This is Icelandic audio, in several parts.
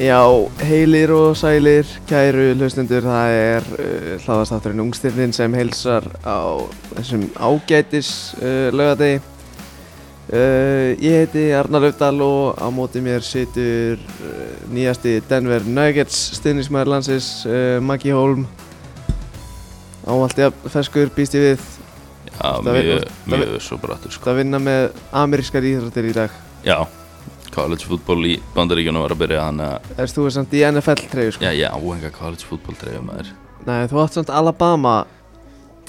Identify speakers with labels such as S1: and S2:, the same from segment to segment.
S1: Já, heilir og sælir, kæru hlustendur, það er uh, hlaðastátturinn Ungstirnin sem heilsar á þessum ágætis uh, lögadegi. Uh, ég heiti Arnar Löfdal og á móti mér situr uh, nýjasti Denver Nuggets stuðnismæður landsins, uh, Maggi Holm. Ávaldi að feskur býst ég við
S2: Já,
S1: Það er-
S2: mjög,
S1: það er-
S2: mjög svo brattur sko.
S1: að vinna með amerískar íþróttir í dag.
S2: Já, college fútból í bandaríkjunum var að byrja þannig að
S1: Erst þú samt í NFL-treyju sko?
S2: Já, ég áhengar college fútból treyfum maður
S1: Nei, þú átt samt Alabama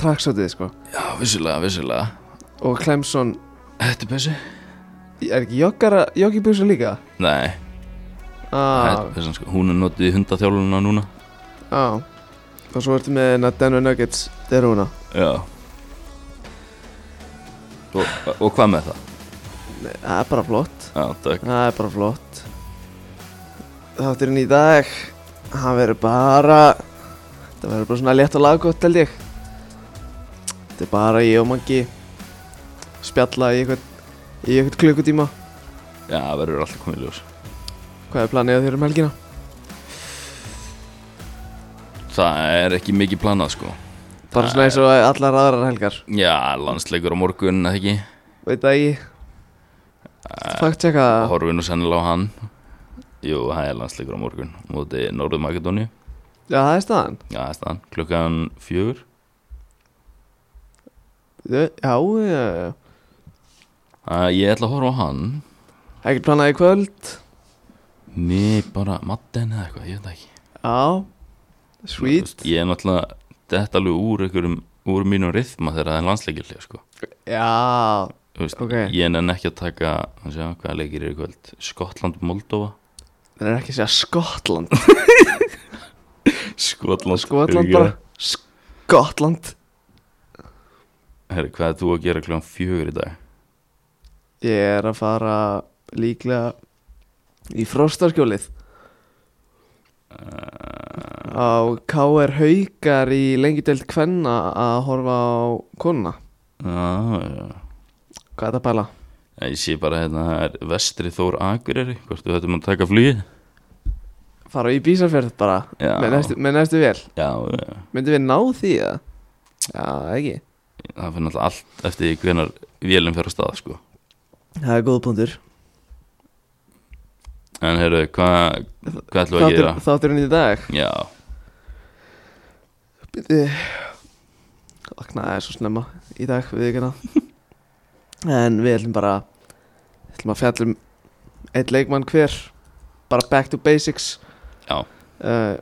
S1: traksótið sko.
S2: Já, vissulega, vissulega
S1: Og Clemson
S2: Þetta er pissi?
S1: Er ekki joggara, joggibúsa líka?
S2: Nei, þetta
S1: Á,
S2: er pissan sko Hún er notið í hundaþjálununa núna
S1: á Og svo ertu með hérna Denver Nuggets derúna
S2: Já og, og hvað með það?
S1: Það er bara flott
S2: Já, takk
S1: Það er bara flott Þátturinn í dag Það verður bara Það verður bara svona létt og laggott held ég Þetta er bara ég og mangi Spjalla í eitthvað Í eitthvað klukkutíma
S2: Já, það verður alltaf komið í ljós
S1: Hvað er planið á þér um helgina?
S2: Það er ekki mikið planað sko
S1: Bara svona eins og allar aðrar helgar
S2: Já, landsleikur á morgun, eða ekki
S1: Veit að ég Fakt tjekka það
S2: Horfum við nú sennilega á hann Jú, það er landsleikur á morgun Móti Norður Makedóníu
S1: Já það er staðan
S2: Já, það er staðan. Klukkan fjögur.
S1: Já, já, já, já.
S2: Uh, ég ætla að horfa á hann.
S1: Ekkert planað í kvöld
S2: Mér bara matten eða eitthvað, ég veit það ekki.
S1: Já
S2: Þú veist,
S1: Sweet
S2: Ég er náttúrulega, þetta alveg úr einhverjum, úr mínum rithma þegar það er landsleikirlega, sko.
S1: Já
S2: Þú Veist,
S1: Ok.
S2: Ég nenn ekki að taka, hann segja, hvaða leikir eru í kvöld? Skotland, Moldova?
S1: Það er ekki að segja Skotland
S2: Skotland,
S1: Skotland bara Skotland
S2: Herri, hvað er þú að gera klukkan fjögur í dag?
S1: Ég er að fara líklega í fróstarskjólið Uh. Á K.R. Haukar í lengi deild kvenna að horfa á konuna
S2: Já, já.
S1: Hvað er þetta að pæla?
S2: Nei, Ég sé bara hérna, það er vestri Þór Akureyri, hvort þú hættum að taka flugið?
S1: Fara í bísarferð bara
S2: Já.
S1: með næstu, með næstu vel
S2: Já, já.
S1: Myndum við ná því eða? Já, ekki
S2: það fyrir náttúrulega allt eftir því hvenar vélum fer á stað sko.
S1: Það er góð punktur
S2: en heyrðu, hvað hva ætlum við að gera?
S1: Þáttur- Þátturinn í dag
S2: já,
S1: Byrði Vaknaði svo snemma í dag við ekki hérna. En við ætlum bara ætlum að fjalla um einn leikmann hver bara back to basics
S2: já,
S1: uh,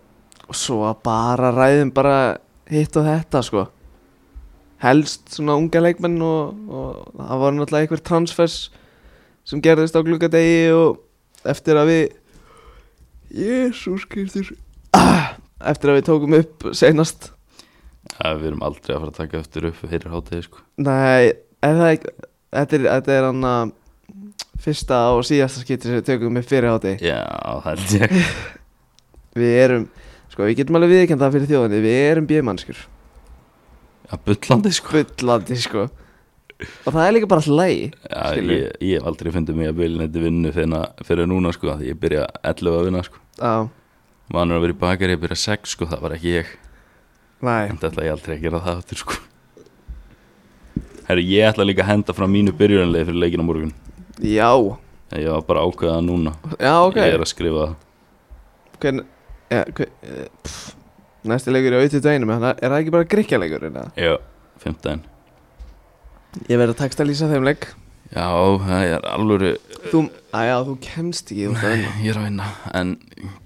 S1: og svo að bara ræðum bara hitt og þetta sko helst svona unga leikmenn og, og það voru náttúrulega einhver transfers sem gerðist á gluggadegi og eftir að við Jésús Kristur ah, eftir að við tókum upp seinast
S2: það, við erum aldrei að fara að taka eftir upp fyrir hátegi sko.
S1: Nei, er það ekki Þetta er, þetta er hann að Fyrsta og síðasta skipti sem við tökum með fyrir hátti
S2: já, það held ég
S1: Við erum, sko við getum alveg viðkjönd það fyrir þjóðinni Við erum bjömannskjur
S2: að bullandi sko
S1: Bullandi sko Og það er líka bara alltaf lægi
S2: já,
S1: skilur.
S2: ég, ég hef aldrei fundið mig að bylja neitt vinnu fyrir, fyrir núna sko, því ég byrja 11 að vinna sko
S1: Já,
S2: Vanur að vera í bakari, ég byrja 6 sko, það var ekki ég
S1: næ
S2: En þetta ætla ég aldrei að gera það aftur sko Herru, ég ætla líka að henda fram mínu byrjunarlið fyrir leikina morgun
S1: Já,
S2: Ég var bara að ákveða það núna
S1: já ok
S2: Ég er að skrifa það
S1: Hvern, ja, hver, eh, pff, Næsti leikur er auðvitað einum Er það ekki bara grikkjaleikur? eða?
S2: Já, 15
S1: Ég verð að texta lýsa þeim leik
S2: Já, það er alvöru
S1: Þú, aðja, þú kemst ekki þú ert að vinna.
S2: Ég er að vinna En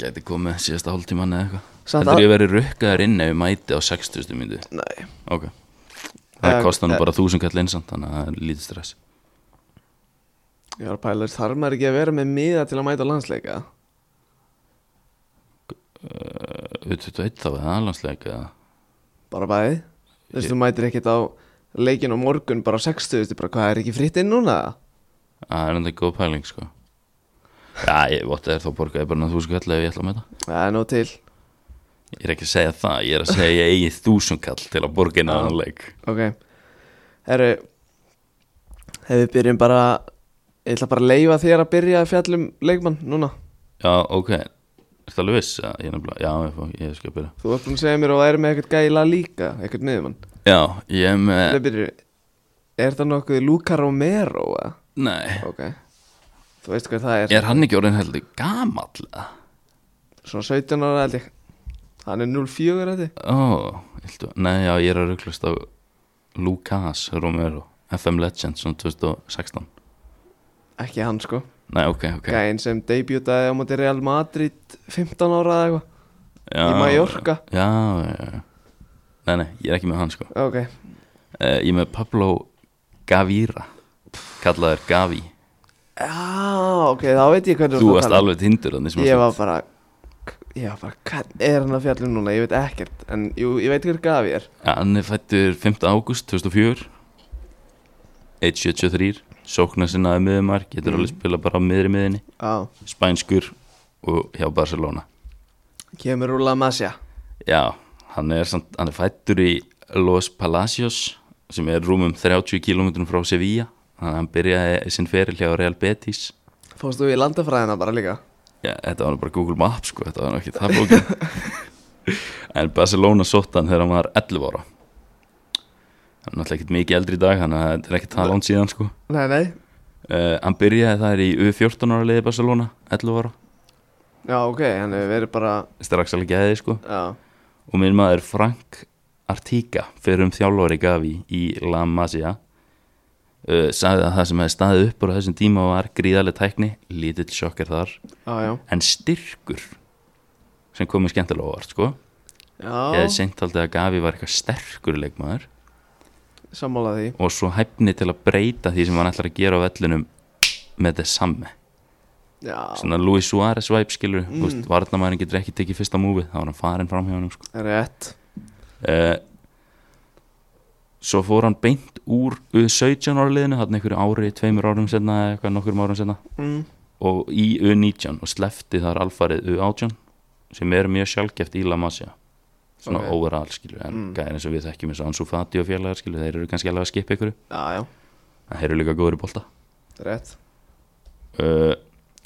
S2: gæti komið síðasta hálftíman eða eitthvað
S1: Samt
S2: Þetta er
S1: að-
S2: ég verið rukkaður inn ef ég mæti á 60. myndu
S1: Nei
S2: Ok Það
S1: Eh,
S2: kostar
S1: eh.
S2: nú bara þúsund kall einsamt Þannig að það er lítið stress
S1: Ég var að pæla, þarf maður ekki að vera með miða til að mæta á landsleika?
S2: Þú 21 þá er það landsleika
S1: Bara bæði Þú veist, þú mætir ekkert á leikin á morgun bara á 60, veistu bara hvað er ekki fritt inn núna?
S2: Það er enda góð pæling sko Já, ég vott er þá borgaði bara þúsund kall ef ég ætla að mæta
S1: Það er nóg til
S2: Ég er ekki að segja það Ég er að segja ég eigi þúsund kall til að borga inn á þann leik
S1: Ok Herru Ef við byrjum bara um Ég ætla bara að leifa þér að byrja að fjallum leikmann núna
S2: Já, ok Ertu alveg viss? eða? Ég er nefnilega, já, ég, fá- ég skal byrja
S1: Þú varst búin að segja mér að væri með eitthvað gæla líka, eitthvað miðjumann.
S2: Já, ég er með,
S1: Það byrju, er það nokkuð Luca Romero, eða?
S2: nei
S1: Ok. Þú veist hvað það er.
S2: Er hann ekki orðin heldur gamall? eða?
S1: Svona 17 ára held ég. Hann er 04 held ég.
S2: Ó, illu, nei, já, ég er að rugglast á Lucas Romero FM Legend, svona 2016
S1: Ekki hann sko.
S2: Nei, ok, ok
S1: Gæinn sem debutaði á móti Real Madrid 15 ára eða eitthvað.
S2: já,
S1: í Mallorca.
S2: Já, já, já Nei, nei, ég er ekki með hann, sko
S1: Ok.
S2: eh, Ég er með Pablo Gavira Kallaður Gavi
S1: Já, ok, þá veit ég hvernig
S2: Þú
S1: ert að
S2: varst
S1: tala um.
S2: alveg tindur þannig sem
S1: Ég
S2: að
S1: var bara Ég var bara, hvað er hann að fjalla um núna? Ég veit ekkert, en jú, ég veit hver gaf ég er
S2: Hann er fættur 5. ágúst 2004 173 Sókna sinnaði miðumar
S1: Mhm.
S2: Getur alveg spila bara á miðri miðinni
S1: Á,
S2: Spænskur og hjá Barcelona
S1: kemur úr La Masia
S2: Já, hann er, samt, hann er fættur í Los Palacios sem er rúmum 30 km frá Sevilla þannig að hann byrjaði sinn feril hjá Real Betis
S1: Fórstu við í landafræðina bara líka
S2: Já, þetta var nú bara Google Maps sko, þetta var nú ekki það bókin En Barcelona sótt hann þegar hann var 11 ára Hann er náttúrulega ekkert mikið eldri í dag þannig að þetta er ekki tala án síðan sko
S1: Nei, nei,
S2: uh, Hann byrjaði þar í U14 ára liði Barcelona 11 ára,
S1: já, ok, hann hefur verið bara
S2: strax alveg geðið sko
S1: Já,
S2: og minn maður Frank Artiga fyrir um þjálfari Gavi í La Masia uh, sagði að það sem hefði staðið upp úr á þessum tíma var gríðarlega tækni lítill sjokkar þar
S1: já, já
S2: en styrkur sem komið skemmtilega á óvart sko ég
S1: Já,
S2: hefði seint haldið að Gavi var eitthvað sterkur leikmaður
S1: sammála því
S2: og svo hæfni til að breyta því sem hann ætlar að gera á vellunum með þess samme
S1: Já,
S2: svona Luis Suárez væp skilur mm. varnamærin getur ekki tekið fyrsta múfið þá var hann farin fram hjá hann sko.
S1: rétt
S2: Eh, Svo fór hann beint úr 17 ára liðinu, hann einhverju ári, tveimur árum senna eða eitthvað nokkrum árum senna
S1: mm.
S2: og í U19 og slefti þar alfarið U18 sem er mjög sjálfgeft í La Masia svona
S1: Ok.
S2: okay. overall skilur en
S1: Mm.
S2: gæðir eins og við þekkjum eins og Ansu Fati og félagar skilur þeir eru kannski alveg að skipa ykkur
S1: Já, já,
S2: en þeir eru líka góður í bolta
S1: rétt
S2: uh,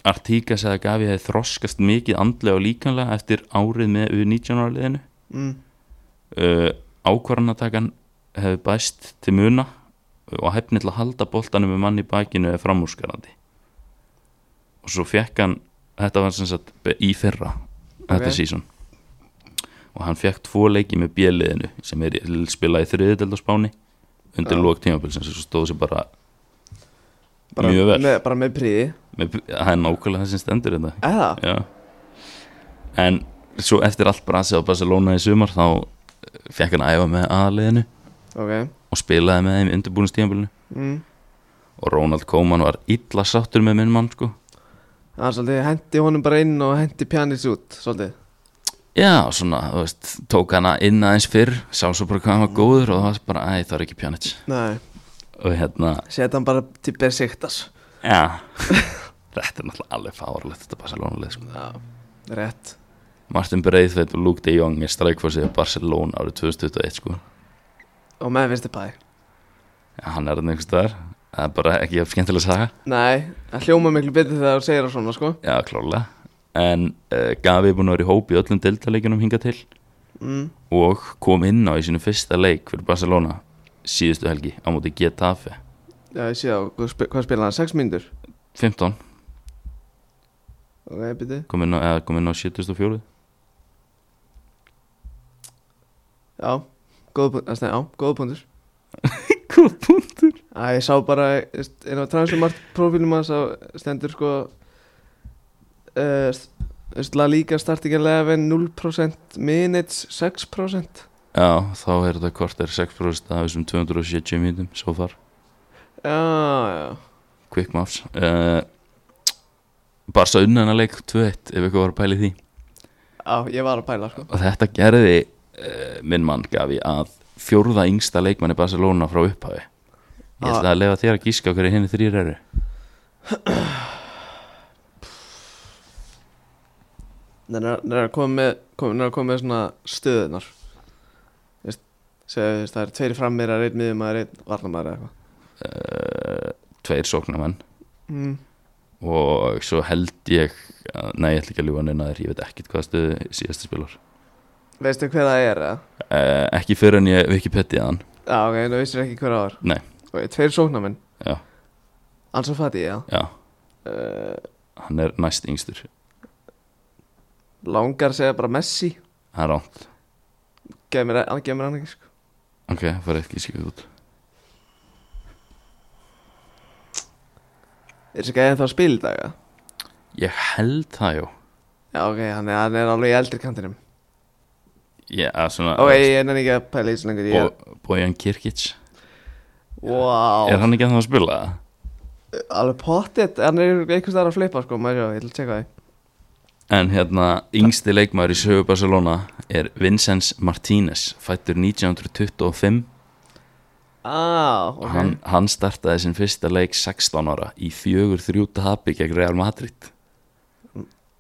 S2: Artíka sagði að Gavi hefði þroskast mikið andlega og líkanlega eftir árið með U19 ára liðinu
S1: mm.
S2: uh, ákvarðanatakan hefur bæst til muna og hefni til að halda boltanum með manni í bakinu eða framúrskarandi og svo fekk hann þetta var sem sagt be- í fyrra þetta
S1: Ok.
S2: sísón og hann fekk tvo leiki með bjöliðinu sem er spilað í þriðdelt á Spáni undir
S1: Já.
S2: lók tímabilsins og svo stóð sér bara
S1: bara,
S2: mjög vel
S1: með, Bara með príði
S2: með, það er nákvæmlega það sem stendur þetta
S1: Eða,
S2: Já En svo eftir allt brasið á Barcelona í sumar þá fekk hann að æfa með aðliðinu
S1: ok
S2: og spilaði með þeim í undirbúinustíðanbúlinu
S1: mm.
S2: og Ronald Koeman var illa sáttur með minn mann sko
S1: Hann svolítið hendi honum bara inn og hendi pjanis út, svolítið
S2: Já, svona, þú veist, tók hana inn aðeins fyrr sá svo bara hvað hann var góður og það var bara, æ, það var ekki pjanic
S1: Nei,
S2: og hérna,
S1: setja hann bara til bersiktas
S2: já Þetta er náttúrulega alveg fárlegt þetta Barcelona lið sko
S1: Já, rétt
S2: Martin Breiðveit og Luke de Jong er strækforsið Barcelona árið 2021 sko
S1: Og með vinstri bæ
S2: Já, hann er hann einhvers staðar það er bara ekki jafn skemmtilega saga
S1: Nei, það hljóma miklu betur þegar þú segir það svona sko
S2: Já, klárlega En uh, Gavi er búin að vera í hóp í öllum deltaleikjunum hinga til
S1: mm.
S2: og kom inn á í sinu fyrsta leik fyrir Barcelona síðustu helgi á móti Getafe
S1: Já, ég sé á, hvað sp- hvað spilaði hann? 6 mínútur?
S2: 15
S1: Ok, byrju
S2: kom inn á, eða, kom inn á 74
S1: Já, góð punkt, að stæða, já, góð punktur
S2: Góð punkt
S1: Æ, ég sá bara, þú veist, inn á transfermart profílum hans að stendur sko uh, Östla líka starting 11 0% minutes 6%
S2: Já, þá er þetta hvort er 6% af þessum 270 mínutum svo far,
S1: Já, já,
S2: quick maps uh, Barca unna hennar leik 2-1 ef eitthvað var að pæli því
S1: já, ég var að pæla sko
S2: og þetta gerði uh, minn mann Gavi að fjórða yngsta leikmanni Barcelona frá upphafi ég
S1: Ah.
S2: ætla að lefa þér að gíska hverju henni þrýr eru
S1: Nei, það er að koma með, kom, að koma með svona stöðunar Veist, segja, veist, það er tveir frammeirar, einn miðumæður, einn varnamæður eða eitthvað
S2: uh, tveir Eh, sóknarmenn
S1: mm.
S2: og svo held ég að- Nei, ég ætla ekki að ljúga neina þér, ég veit ekkit hvaða stöðu síðasti spilar
S1: Veistu hver það er, eða?
S2: eh, Ekki fyrir en ég Wikipedia hann
S1: Já, ok, þú vissir ekki hver það var
S2: Nei.
S1: Ok, tveir sóknarmenn
S2: Já.
S1: Ansu Fati, já
S2: Já,
S1: uh,
S2: hann er næst yngstur
S1: Langar segja bara Messi
S2: Það er ránt
S1: Gæði mér, hann gæði mér hann ekki, sko
S2: Ok, það fara ekki skipið út
S1: Er þessi gæði ennþá að spila í dag, eða?
S2: Ég held það, já
S1: Já, ok, hann er, hann er alveg í eldri kantinum
S2: Ég, að svona
S1: Ok, ég er ekki að pæla í þessu lengur ég...
S2: Bo, Bojan Kirkic
S1: Wow,
S2: Er hann ekki að það að spila það?
S1: alveg pottet Hann er einhvers þar að flippa, sko, maður sjá, ég ætla að tjekka það
S2: En hérna, yngsti leikmaður í sögu Barcelona er Vincenz Martínez fættur 1925
S1: Á, Ah, ok
S2: hann, hann startaði sinn fyrsta leik 16 ára í 4-3 tapi gegn Real Madrid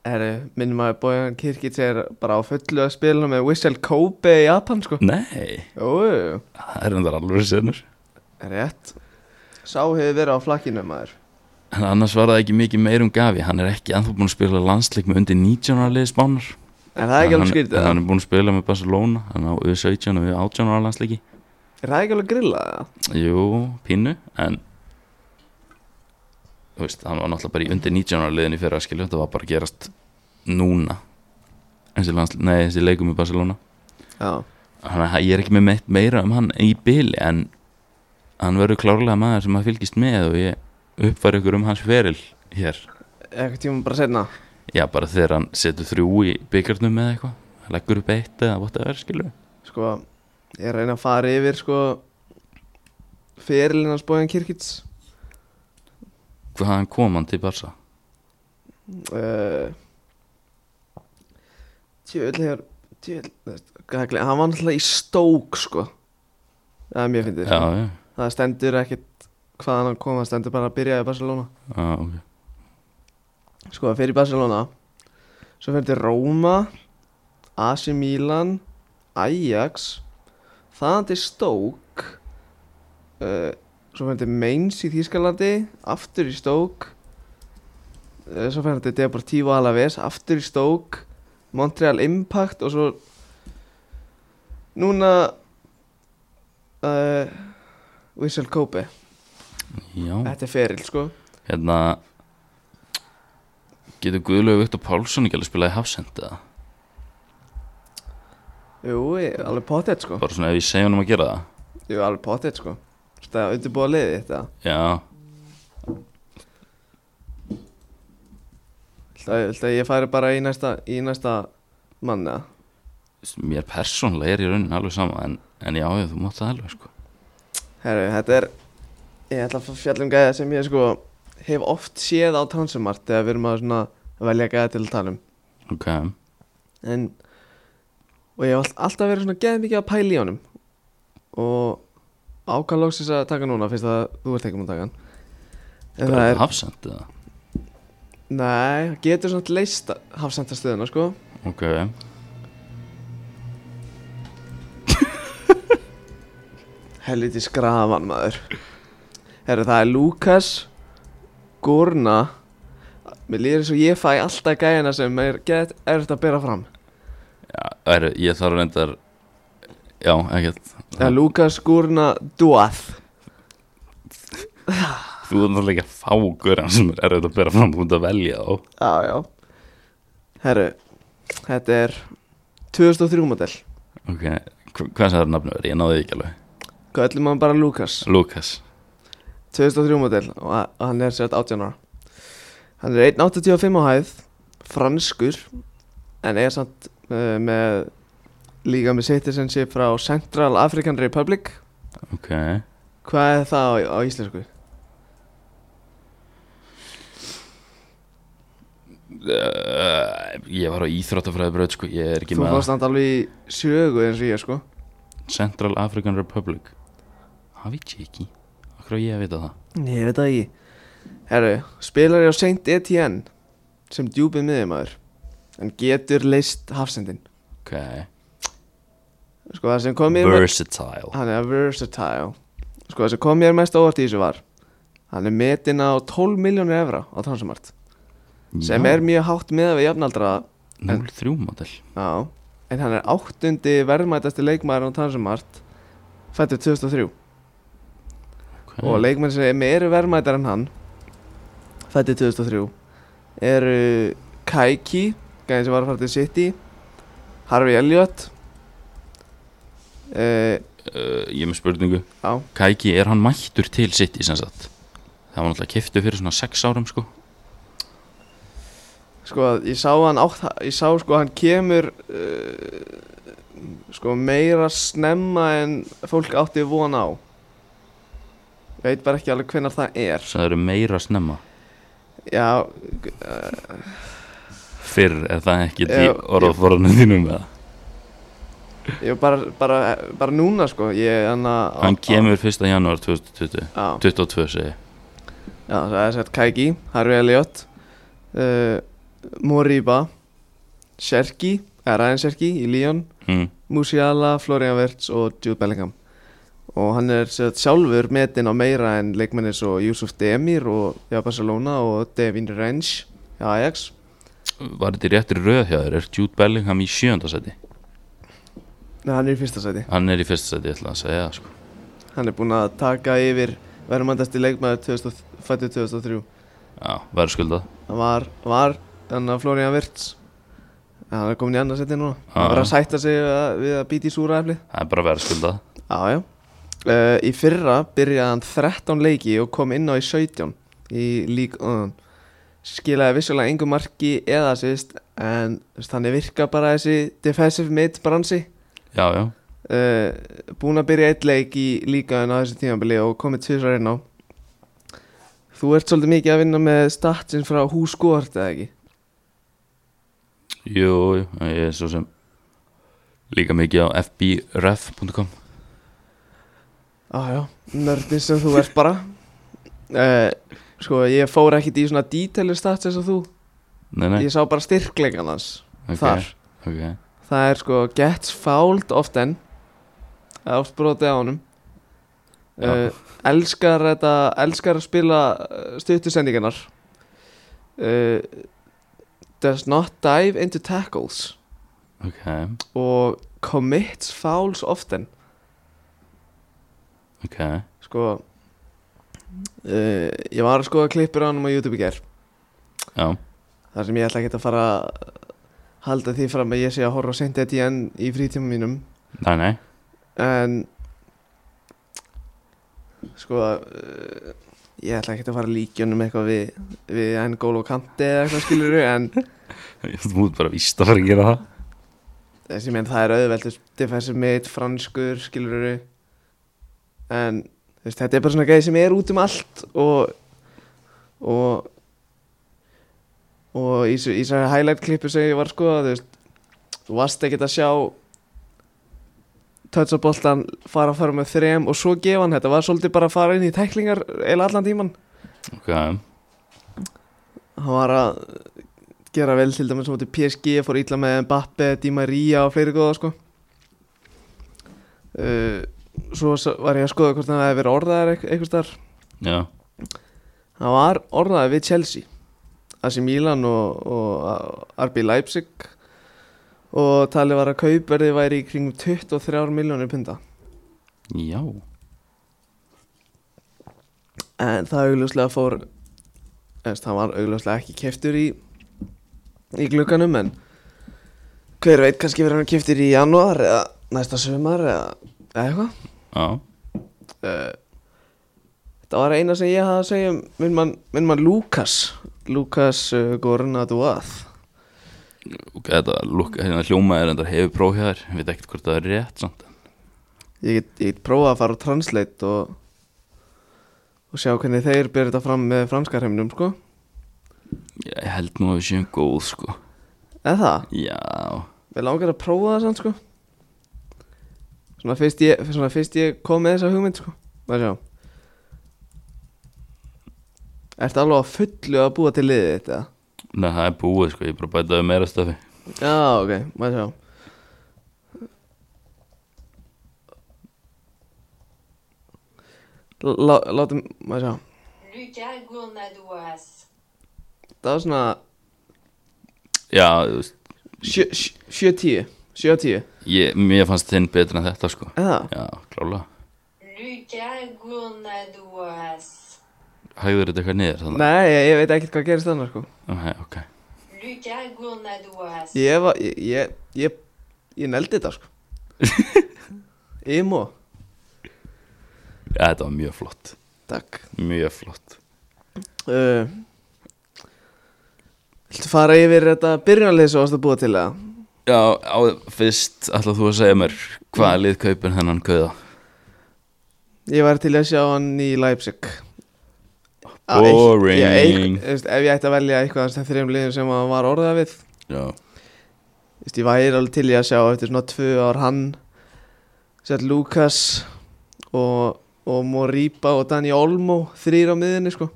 S1: Herru, minnum að Bojan Kirkits er bara á fullu að spila með Whistle Kobe í Japan, sko
S2: Nei,
S1: Jú, jú, jú.
S2: það er endar alveg senur
S1: rétt Sá hefur verið á flakkinu, maður
S2: En annars var það ekki mikið meir um Gavi hann er ekki anþá búin að spila landsleik með undir 19 ára liði spánar
S1: Er það ekki
S2: En
S1: alveg
S2: hann,
S1: skrítið?
S2: en
S1: eða?
S2: hann er búin að spila með Barcelona hann á U17 og U18 ára landsleiki
S1: Er það ekki alveg grillað? eða?
S2: Jú, pínu, en þú veist, hann var náttúrulega bara í undir 19 ára liðin í fyrra skilju, þetta var bara að gerast núna þessi, landsl... Nei, þessi leikum í Barcelona
S1: Já
S2: þannig að ég er ekki með meitt meira um hann í byli en hann verður klárlega maður sem að fylgist með og ég uppfæri ykkur um hans feril hér,
S1: Eitthvað tíma bara setna
S2: já bara þegar hann setur þrjú í byggarnum eða eitthvað leggur upp eitt eða whatever skilju
S1: Sko, ég er að reyna að fara yfir sko Fyrirlinn hans Bojan Kirkits
S2: hvaðan kom hann til Barca?
S1: uh, Tjöðl hefur Tjöðl Gagli, hann var náttúrulega í stók sko Það er mjög fyndið
S2: Já,
S1: sko.
S2: já,
S1: Það stendur ekkit hvaðan hann kom Það stendur bara að byrja í Barcelona
S2: já, ok
S1: Sko, fyrir Barcelona Svo fyrir til Róma AC Milan Ajax Þaðan til Stoke uh, Svo fyrir til Mainz í Þýskalandi Aftur í Stoke uh, Svo fyrir til Deportivo Alaves Aftur í Stoke Montreal Impact og svo Núna uh, Whistle Kobe
S2: Já,
S1: Þetta er feril sko
S2: hérna getur Guðlaug Viktor Pálsson ekki alveg spilað í Hafsend eða
S1: Jú, ég- alveg pottet sko
S2: bara svona ef ég segja hann um að gera það
S1: Jú, alveg potið sko Þetta er undirbúa liðið þetta
S2: já,
S1: Viltu að- Viltu að ég færi bara í næsta, í næsta manna
S2: mér persónlega er í raunin alveg sama en, en já, já, þú mátt það alveg sko
S1: Herru, þetta er Ég ætla að fjalla um gæða sem ég sko Hef oft séð á transumart Þegar við erum að svona velja gæða til að tala um
S2: ok,
S1: En Og ég hef all- alltaf verið svona geð mikið að pæla í honum Og ákvæða loksins að taka núna Fyrst að þú ert ekki um að taka hann En
S2: bara
S1: það
S2: er...
S1: er
S2: Hafsend eða
S1: Nei, það getur svona leist Hafsendastöðuna sko
S2: ok,
S1: Helviti skraman maður Herru það er Lukas Gurna Mér líður eins og ég fæ alltaf gæjana sem er gett erft að bera fram
S2: já, er, ég þarf reyndar já, ekkert
S1: Það er Lukas Gurna Duað
S2: þú er náttúrulega ekki að fá gauran sem er erfitt að bera fram þú ert að velja þá
S1: Já, já Herru, þetta er 2003 model
S2: ok, hva- hvað sem það er nafnum verið, ég náði því ekki alveg
S1: Köllum hann bara Lukas
S2: Lukas,
S1: 2003 model og a- og hann er sérst 18 ára Hann er 1.85 á hæð franskur en er samt uh, með líka með citizenship frá Central African Republic
S2: ok Eh,
S1: Hvað er það á, á íslensku?
S2: uh, ég var á íþróttafræði bröð sko, ég er ekki
S1: Þú
S2: með
S1: fórst samt alveg í sögu eins og ég sko
S2: Central African Republic Það veit ég ekki Akkur á ég að vita það
S1: Ég veit það ekki Herru, spilar ég á Saint Etienne sem djúpið miðjumæður en getur leist hafsendin
S2: Ok
S1: Sko það sem kom mér
S2: Versatile
S1: Hann er versatile Sko það sem kom mér mest óvart í þessu var Hann er metinn á 12 miljónir evra á transumart sem er mjög hátt meða við jafnaldra
S2: 0-3 model
S1: já, en hann er áttundi verðmætasti leikmaður á Transumart fættur 2003
S2: okay.
S1: og leikmenn sem eru verðmættar en hann fættur 2003 eru Kaiki gæðin sem var að fara til City Harvey Elliot uh,
S2: uh, Ég er með spurningu
S1: á,
S2: Kæki, er hann mættur til City sem sagt? Það var náttúrulega kiftu fyrir svona 6 árum sko
S1: sko að ég sá hann átt, ég sá sko að hann kemur uh, sko meira snemma en fólk átti von á ég veit bara ekki alveg hvenar það er
S2: Það eru meira snemma
S1: já,
S2: Fyrr er það ekki
S1: Já,
S2: til orðaforðinu þínum með
S1: ég bara, bara, bara núna sko ég, hann,
S2: Hann kemur 1. janúar 2020
S1: á,
S2: 22 segi ég.
S1: já, það er sett Kaigi, Harvey Elliot uh, Moriba Serki, eða Ryan Serki í Lyon
S2: mm.
S1: Musiala, Florian Wirtz og Jude Bellingham og hann er sem sagt sjálfur metinn á meira en leikmenni svo Yusuf Demir og já, Barcelona og Devin Rensch í Ajax
S2: Var þetta í réttri röð hjá þér? Er Jude Bellingham í sjönda seti?
S1: Nei, hann er í fyrsta sæti
S2: Hann er í fyrsta seti, ég ætla að segja sko.
S1: hann er búinn að taka yfir verðmandasti leikmaður 2000 fæddur 2003
S2: Já, verður skuldað
S1: hann var, var hann að Florian Wirtz en hann er komin í annað sæti núna
S2: Ah.
S1: hann var að sætta sig við að, við að býta í súra eflið
S2: Það er bara verður skuldað
S1: Já, já. Uh, í fyrra byrjaði hann 13 leiki og kom inn á í 17 í lík og skilaði vissulega engu marki eða sýst en þú veist, þannig virka bara þessi defensive mid bransi
S2: Já, já,
S1: uh, búin að byrja eitt leik í líkaðin á þessu tímabili og komið tvisar inn á Þú ert svolítið mikið að vinna með statsinn frá húskort eða ekki?
S2: jú, jú, ég er svo sem Líka mikið á fbref.com
S1: Já, já, nördin sem þú ert bara uh, Sko, ég fór ekkit í svona detailir stats eins og þú
S2: Nei, nei,
S1: Ég sá bara styrkleikan hans
S2: ok,
S1: þar
S2: ok
S1: Það er sko gets fouled often Það er oft brotið á honum
S2: Já.
S1: uh, Elskar þetta Elskar að spila uh, stuttusendingarnar uh, Does not dive into tackles
S2: Ok,
S1: Og commits fouls often
S2: ok
S1: Sko uh, Ég var að skoða klippur á honum á YouTube í ger
S2: Já,
S1: Þar sem ég ætla ekki að fara að Halda því fram að ég sé að horfa á Saint Etienne í frítíma mínum
S2: nei, nei
S1: en sko uh, ég ætla ekki að fara líkjunum eitthvað við, við enn gól og kanti eða eitthvað skilur en
S2: Þú mútt bara víst að fara að gera það
S1: þessi menn það er auðvelt defensive mid, franskur skilur en þú veist, þetta er bara svona gæði sem er út um allt og og og í þessu- í þessari highlight klippu sem ég var sko þú veist, þú varst ekkert að sjá toucha boltan fara að fara með þrem og svo gefa hann þetta var svolítið bara að fara inn í tæklingar eða allan tíman
S2: Ok,
S1: hann var að gera vel til dæmis á móti PSG, fór illa með Mbappe, Di Maria og fleiri góða sko uh, svo sa- var ég að skoða hvort hann hefði verið orðaðar eitthvað starf
S2: já,
S1: hann var orðaðar við Chelsea AC Milan og, og RB Leipzig og talið var að kaupverði væri í kringum 23 miljónir punta
S2: já
S1: en það augljóslega fór eðst, það var augljóslega ekki keftur í í glugganum en hver veit kannski verður hann keftur í janúar eða næsta sumar eða, eða eitthvað
S2: Já,
S1: uh, þetta var eina sem ég hafði að segja um minn mann, minn mann Lukas Lukas uh, Gornaduað
S2: ok, þetta lúk, hérna hljóma er endar hefur próf hjá þér Ég veit ekkert hvort það er rétt samt
S1: ég get, ég get prófað að fara á Translate og og sjá hvernig þeir byrja þetta fram með franska hreimnum sko
S2: Ég held nú að við séum góð, sko
S1: eða það,
S2: Já,
S1: við langar að prófa það samt sko svona fyrst ég, svona fyrst ég kom með þessa hugmynd sko það sjá Ertu alveg að fullu að búa til liðið þetta?
S2: Nei, það er búið sko, ég er bara að bæta við meira stöfi
S1: Já, ok, maður sjá Lá- lá- Látum, maður sjá
S3: Lucas Gournadouas.
S1: Það var svona
S2: já, þú veist,
S1: 7-10 7-10
S2: ég, mér fannst þinn betur en þetta sko
S1: Eða,
S2: já, klálega,
S3: Lucas Gournadois.
S2: hægður þetta eitthvað niður þannig,
S1: nei, ég, ég veit ekkert hvað gerist þannig sko
S2: Nei, ok,
S3: Lucas Gournadois.
S1: Ég var, ég, ég, ég, ég neldi þetta sko Imo
S2: já, þetta var mjög flott
S1: Takk
S2: mjög flott
S1: uh, Viltu fara yfir þetta byrjunarlið sem varst að búa til það?
S2: já, á, fyrst ætlað þú að segja mér hvaða lið kaupir þennan kauða
S1: Ég var til að sjá hann í Leipzig Á, eitt-
S2: Boring.
S1: ég- eitt- þú veist, Ef ég ætti að velja eitthvað af þessum þreim liðum sem hann var orðað við
S2: já,
S1: Þú veist, Ég væri alveg til í að sjá eftir svona tvö ár hann Sett Lukas og, og Moriba og Dani Olmo þrýr á miðinni sko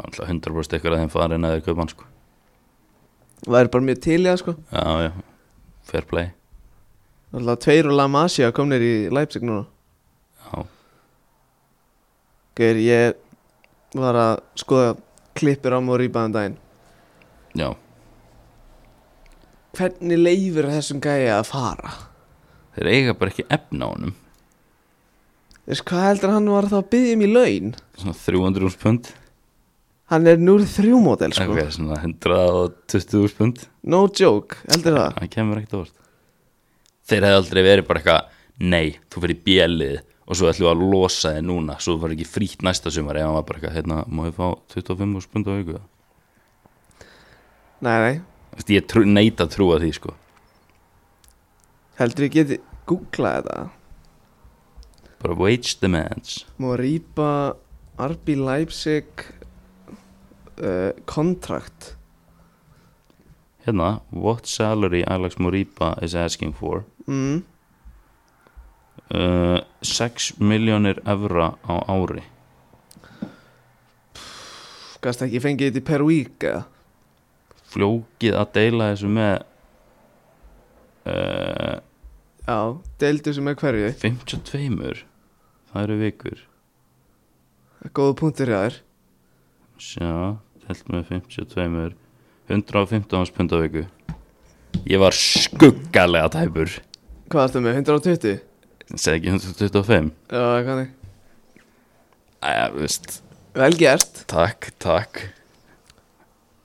S2: alltaf 100% ykkur að þeim farin eða kaupa hann sko
S1: Væri bara mjög til í það sko
S2: já, já, fair play
S1: Alltaf tveir og Lama Asia komnir í Leipzig núna
S2: já,
S1: Gauður, ég var að skoða klippur á Moriba um daginn
S2: já,
S1: Hvernig leifir þessum gæja að fara?
S2: þeir eiga bara ekki efna á honum
S1: Þú veist, hvað heldur hann var þá að byggja um í laun?
S2: svona 300 pund
S1: Hann er 0-3 mótel sko
S2: eitthvað svona 120 pund
S1: No joke, heldur það
S2: það kemur ekkert óvart þeir hefði aldrei verið bara eitthvað nei, þú fyrir bjælið og svo ætlum við að losa þið núna svo þú fyrir ekki frýtt næsta sumar eða hann var bara eitthvað, hérna, má ég fá 25 pund á viku Þú
S1: Nei, nei,
S2: veist, ég trú, neita að trúa því sko
S1: heldur ég geti googlað þetta
S2: bara wage demands
S1: Moriba, RB Leipzig uh, Contract
S2: hérna, what salary Alex Moriba is asking for
S1: mm.
S2: uh, 6 miljónir evra á ári
S1: Gast ekki fengið þetta í per week eða?
S2: fljókið að deila þessu með uh,
S1: Já, deildu sem er hverju
S2: 52 það eru vikur
S1: Góða punktur hjá þér
S2: Sjá, telt með 52 115 hans pund á viku Ég var skuggalega tæpur
S1: Hvað erstu með, 120?
S2: Segð ekki 125
S1: Já, kannig
S2: Æja, veist
S1: Vel gert
S2: Takk, takk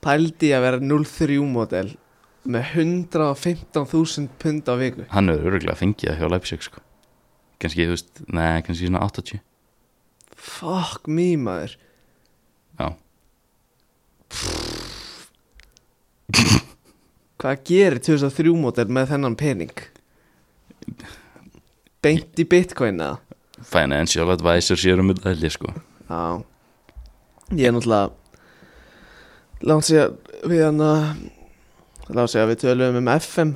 S1: Pældi ég að vera 03 model með 115.000 pund á viku
S2: Hann hefur örgulega fengið það hjá Leipzig sko Kanski, þú veist, nei, kannski svona 80
S1: Fuck me maður
S2: Já,
S1: Hvað gerir 2003 model með þennan pening? Beint í bitcoin eða?
S2: financial advisor sér um þetta held ég sko
S1: Já Ég er náttúrulega Látt sér við hann að Látt sér að við töluðum um FM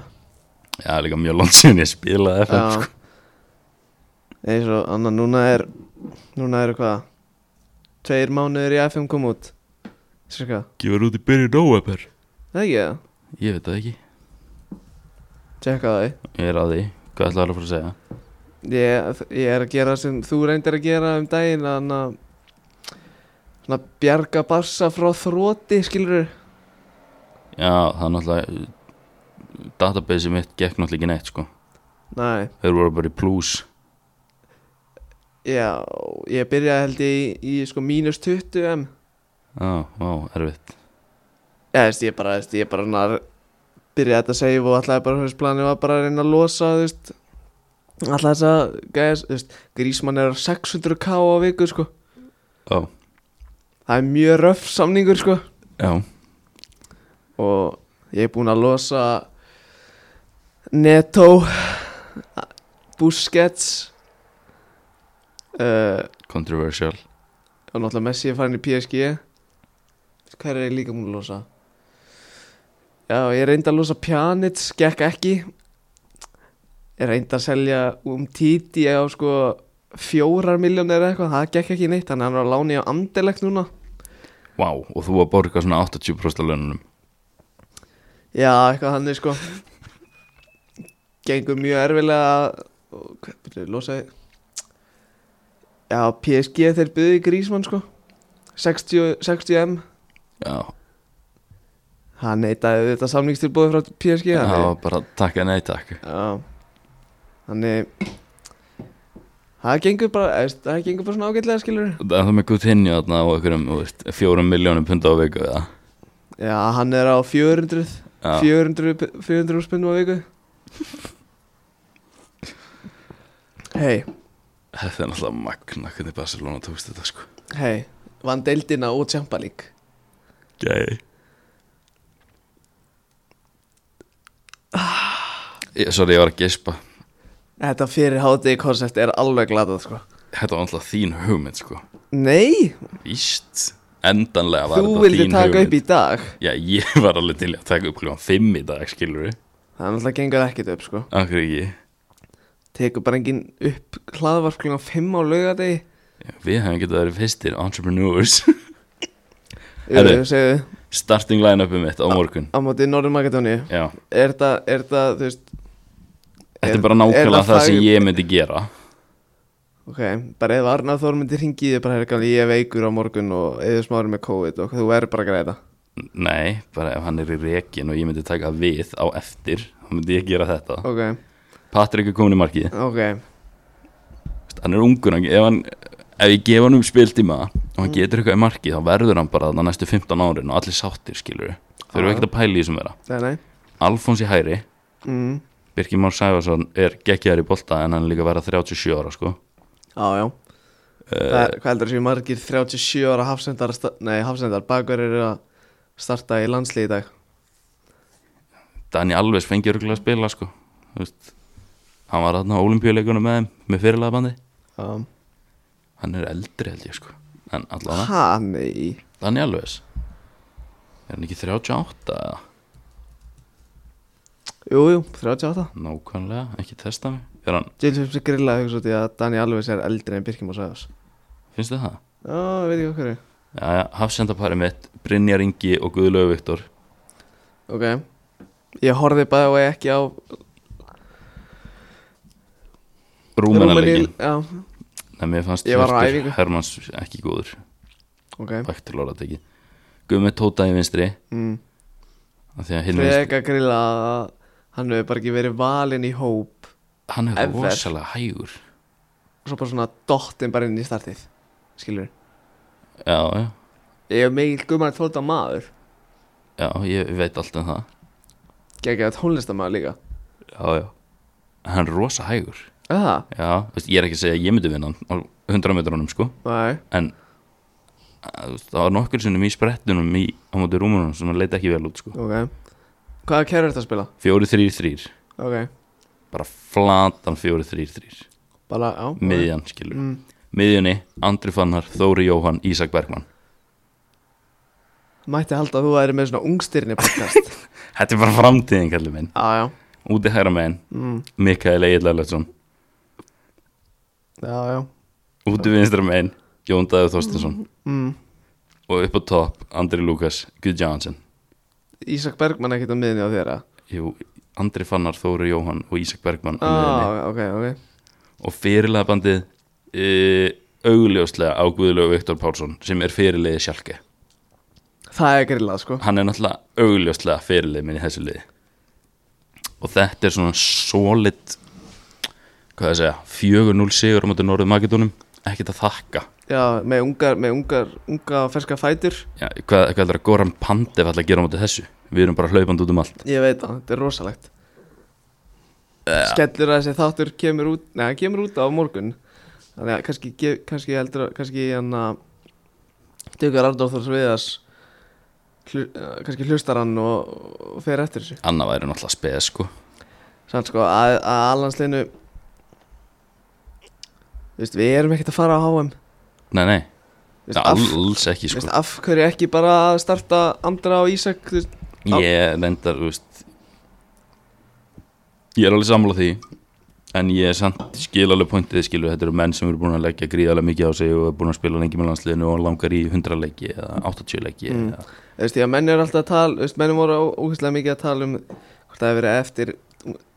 S2: Já, líka mjög langt síðan ég spilaði FM
S1: Já
S2: sko
S1: Eins og annar núna er Núna eru hvað Tveir mánuður í FM kom út Sér hvað?
S2: Gifur út í byrju nóveber
S1: Það er ekki það?
S2: Ég veit það ekki,
S1: Tjekka það
S2: ég er að því Hvað ætlaðu að fara að segja?
S1: Ég, ég er að gera sem þú reyndir að gera um daginn Þannig að svona bjarga barsa frá þróti skilur
S2: Já, það er náttúrulega database mitt gekk náttúrulega ekki neitt sko
S1: Nei,
S2: Þeir voru bara í plus
S1: já, ég byrjaði held ég í, í sko mínus 20 m
S2: Já, vá, erfitt
S1: Já, veist, ég bara, veist, ég bara nar, byrjaði þetta að segja og alltaf bara, þú veist, planið var bara að reyna að losa, þú veist Alltaf þess að, gæs, þú veist, grísmann er á 600k á viku, sko
S2: Já,
S1: Það er mjög röf samningur, sko
S2: já,
S1: og ég er búinn að losa Neto Busquets uh,
S2: controversial
S1: og náttúrulega Messi er farin í PSG hver er ég líka búinn að losa já, ég reyndi að losa Pjanic, gekk ekki ég reyndi að selja um títi á sko fjórar miljónir eða eitthvað, það gekk ekki neitt þannig að hann er að lána í á Anderlecht núna
S2: Vá, og þú að borga svona 80% af laununum
S1: Já, eitthvað hann er sko Gengur mjög erfilega að- og Hvað byrjuðu, losaði Já, PSG þeir byggðu í grísmann sko 60, 60M
S2: Já,
S1: Hann neitaði þetta samningstilbúið frá PSG
S2: Já,
S1: þannig-
S2: bara takk að nei takk
S1: Já Þannig Það gengur bara, eðst, það gengur bara svona ágætlega skilur
S2: En það með Coutinho þarna á einhverjum þú veist, fjórum miljónum punda á viku eða?
S1: Já, hann er á 400
S2: Já.
S1: 400, 400 spennum á viku Hei,
S2: Þetta er náttúrulega magna hvernig Barcelona tókst þetta sko
S1: hei Vann deildina og Champa League
S2: Gæi Ég, Ah. sorry, ég var að gespa
S1: Þetta fyrir hátíði koncept er alveg glatað sko
S2: Þetta var náttúrulega þín hugmynd sko
S1: Nei,
S2: Víst, endanlega var
S1: þú
S2: þetta
S1: vildi
S2: þín
S1: taka upp
S2: hugmynd
S1: í dag
S2: Já, ég var alveg til í að taka upp kljóðan 5 í dag, skilur við
S1: Það er náttúrulega gengur ekkert upp sko
S2: Akkur ekki
S1: Tekur bara engin upp hlaðvarp klunga 5 á laugadegi
S2: Já, Við hefum getað verið fyrstir entrepreneurs Herru.
S1: Eru, segðu,
S2: Starting line-upið mitt á morgun
S1: á móti Norður Makedóníu
S2: Já,
S1: Er það, er það, þú veist
S2: þetta
S1: Er-
S2: er bara
S1: er
S2: nákvæmlega
S1: það
S2: það sem
S1: fag-
S2: ég myndi gera
S1: Ok, bara ef Arnar Þór myndi ringi þig bara hérna ég er veikur á morgun og eða smári með COVID og þú verður bara að græða
S2: Nei, bara ef hann er í rekin og ég myndi taka við á eftir þá myndi ég gera þetta
S1: Ok,
S2: Patrik er komin í markið
S1: ok,
S2: hann er ungur hann, ef, hann, ef ég gef hann um spiltíma og
S1: Mm.
S2: hann getur eitthvað í markið þá verður hann bara þarna næstu 15 árin og allir sáttir skilur þau eru
S1: Já.
S2: ekkert að pæla í þessum vera
S1: nei, nei
S2: Alfons í hæri,
S1: mm.
S2: Birkir Már Sæfarsson er geggjaður í bolta en hann er líka að vera 37 ára sko
S1: Á, já Það er, Hvað heldur þessi margir 37 ára hafsendar, að sta- nei hafsendar, bakverð eru að starta í landslið í dag
S2: Dani Alves fengi örgulega að spila sko Þú veist, hann var þarna á olimpíuleikunum með þeim með fyrirlega bandi
S1: um,
S2: hann er eldri held ég sko en allavega,
S1: Ha, nei
S2: Dani Alves er hann ekki 38 eða?
S1: Jú, jú, 38
S2: nákvæmlega, ekki testa mig er hann,
S1: James Phipps er grillað hugsa út í að Dani Alves er eldri en Birkjum og Sæðars
S2: finnst þið það?
S1: Já, ég veit ekki okkur
S2: Jæja, hafsendapari mitt, Brynjar Ingi og Guðlaug Viktor
S1: Ok Ég horfði bara og ekki á
S2: Rúmenalegin,
S1: Rúmeníu- Já,
S2: en mér fannst
S1: Ég var á
S2: Hjörtur
S1: æfingu.
S2: Hermanns ekki góður
S1: ok
S2: Vaktur Lóra tekið Guðmi Tóta í vinstri
S1: mm.
S2: af því að hinn vinstri,
S1: Freka grilla að hann hefur bara ekki verið valinn í hóp
S2: hann er
S1: ever.
S2: rosalega hægur
S1: og svo bara svona dottin bara inn í startið skilur
S2: já, já,
S1: ég er mikil gumar tóta maður
S2: já, ég veit allt um það
S1: geggjað tónlistamaður líka
S2: já, já hann er rosa hægur
S1: er það?
S2: já, veist, ég er ekki að segja að ég myndi vinna hann á 100 metrunum sko
S1: nei
S2: en að, þú veist, það var nokkur sinnum í sprettunum í, á móti rúmunum sem hann leita ekki vel út sko
S1: ok hvaða kerfi ertu að spila?
S2: 4-3-3
S1: ok
S2: bara flatan 4-3-3
S1: bara á
S2: miðjan skilur
S1: mm.
S2: miðjunni, Andri Fannar, Þóri Jóhann, Ísak Bergmann
S1: mætti halda að þú væri með svona ungstyrni podcast
S2: þetta er bara framtíðin kallið minn
S1: já já
S2: úti hægra megin,
S1: mm.
S2: Mikael Egil Erlefsson
S1: já já
S2: úti vinstra megin, Jón Daður Þorstinsson
S1: mm.
S2: og upp á topp, Andri Lukas, Guð Jansson
S1: Ísak Bergmann ekkert á miðinni á þér að
S2: Jú, Andri Fannar, Þóri Jóhann og Ísak Bergmann á miðjunni
S1: ah, ok ok
S2: og fyrirlega bandið e, augljóslega á Guðlaug Viktor Pálsson sem er fyrirliði sjálke
S1: það er grillað sko
S2: hann er náttúrulega augljóslega fyrirlið minn í þessu liði og þetta er svona solid hvað það segja 4-0 sigur á móti Norðu Makedónum ekkert að þakka
S1: já með ungar með ungar unga og ferska fætur
S2: Já, hvað, hvað er að Goran Pandev alltaf að gera á móti þessu við erum bara hlaupandi út um allt
S1: Ég veit það, þetta er rosalegt Skellur að þessi þáttur kemur út Nei, hann kemur út á morgun Þannig að kannski, ge- kannski heldur að- Kannski hann að Dugar Arndór Þórs Viðars hlu, eh, Kannski hlustar hann og, og fer eftir þessu
S2: annað væri náttúrulega speð sko
S1: Sann sko, að, að allansleinu Vist, við erum ekkert að fara á HM
S2: nei, nei,
S1: Vist,
S2: Nei,
S1: af,
S2: alls ekki
S1: vist,
S2: sko
S1: af hverju ekki bara að starta Andra og Ísak þú veist, af-
S2: ég reyndar, þú veist ég er alveg sammála því en ég er samt skil alveg pointið skilu, þetta eru menn sem eru búin að leggja gríðarlega mikið á sig og eru búin að spila lengi með landsliðinu og langar í 100 leiki eða 80 leiki
S1: Mm.
S2: eða,
S1: Þú veist, já, menn eru alltaf að tala, þú veist, menn voru ógæslega mikið að tala um hvort það hefur verið eftir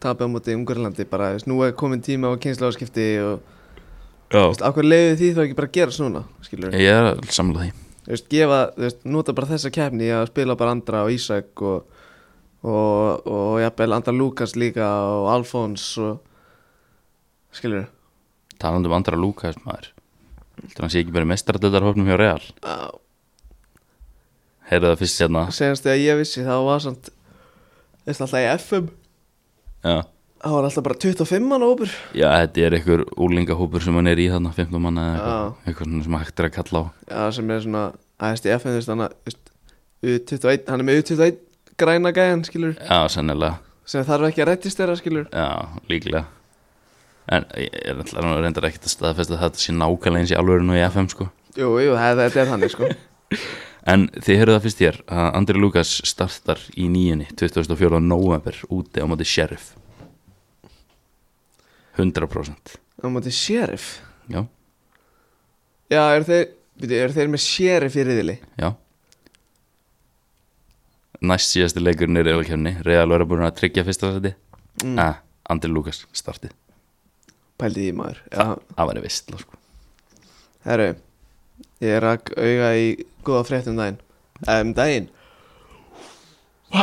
S1: tapja á móti Ungarlandi bara, þú veist, nú er komin tíma á kynnslóðskipti og, þú
S2: já,
S1: veist, á hverju leiðu því þá ekki bara að gera svona, skilur við?
S2: ég er alveg sammála því
S1: þú veist, gefa, þú veist, nota bara þessa kefni að spila bara Andra og Ísak og, og, og jafnvel Andra Lukas líka og Alfons og skilur
S2: talandi um andra Lukas maður heldur hann sé ekki bara mestaradöldar hóknum hjá Real heyrðu það fyrst hérna. sérna
S1: senast þegar ég vissi þá var samt þú veist, alltaf í FM
S2: já.
S1: þá var alltaf bara 25 mann ópur
S2: já, þetta er einhver úlingahópur sem hann er í þarna 15 manna eða
S1: Já.
S2: eitthvað, eitthvað svona sem hægt er að kalla á
S1: Já, sem er svona aðeins í FM, þú veist, hann að, þú veist, U21, hann er með U21 græna gæjan, skilur,
S2: já, sennilega
S1: sem þarf ekki að rættist þeirra, skilur.
S2: já, líklega en ég er alltaf reyndar ekkert að staðfesta að þetta sé nákvæmlega eins í alvörinu í FM sko
S1: Jú, jú, það, þetta er þannig, sko.
S2: En þið heyrðu það fyrst hér að Andri Lukas startar í nýjunni 24. november úti á móti sheriff 100%
S1: Á móti sheriff.
S2: Já,
S1: Já, eru þeir, veitu, eru þeir með sheriff í riðili?
S2: já Næst síðasti leikurinn er eilakefni Real verður búin að tryggja fyrsta sæti mm. Andri Lukas startið
S1: Ah. Pældi því maður. Já,
S2: Það væri vist sko.
S1: herru, ég rak auga í góða frétt um daginn. Eh, Um daginn.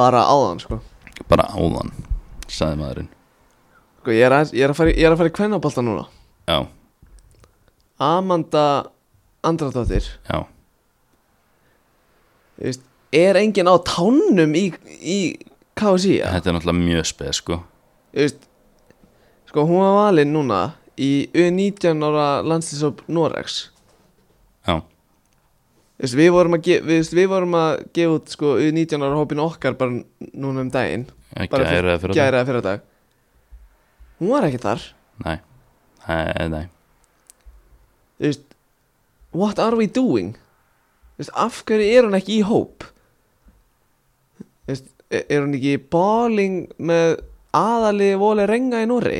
S1: Bara áðan, sko.
S2: Bara áðan, sagði maðurinn
S1: Sko, ég er að, ég er að fara, í- ég er að fara í kvennabolta núna.
S2: Já,
S1: Amanda Andradóttir.
S2: já,
S1: Þú veist, er enginn á tánum í, í KSI ja?
S2: þetta er náttúrulega mjög speð sko.
S1: Þú veist, sko hún var valinn núna í U19 ára landslýsop Norex
S2: Já,
S1: Þú veist, við, vorum að ge- við, veist, við vorum að gefa út sko, U19 ára hópin okkar bara núna um daginn
S2: ekki
S1: Bara
S2: að
S1: fyrir-
S2: eða fyrir
S1: gæraða fyrir dag hún var ekki þar
S2: það Nei, nei, nei
S1: Þú veist, what are we doing Þú veist, af hverju er hún ekki í hóp Þú veist, er er hún ekki í báling með aðali voli renga í Norri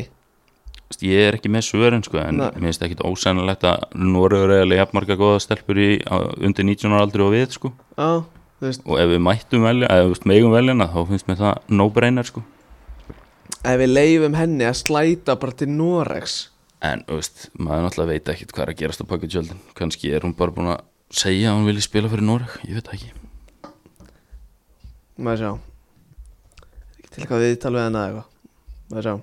S2: Veist, ég er ekki með svörin sko en
S1: Nei.
S2: mér finnst ekkit ósænilegt að Noregur er alveg jafnmarga góða stelpur í á- undir 19 ára aldri og við sko
S1: Já, þú veist,
S2: og ef við mættum velja, eða þú veist megum veljana þá finnst mér það no brainer sko
S1: ef við leifum henni að slæta bara til Norex
S2: en þú veist, maður náttúrulega veit ekkit hvað er að gerast á pakkutjöldin, kannski er hún bara búin að segja að hún vilji spila fyrir Noreg, ég veit það ekki
S1: Maður sjá Ekki til hvað við tala við henni eða eitthvað Maður sjá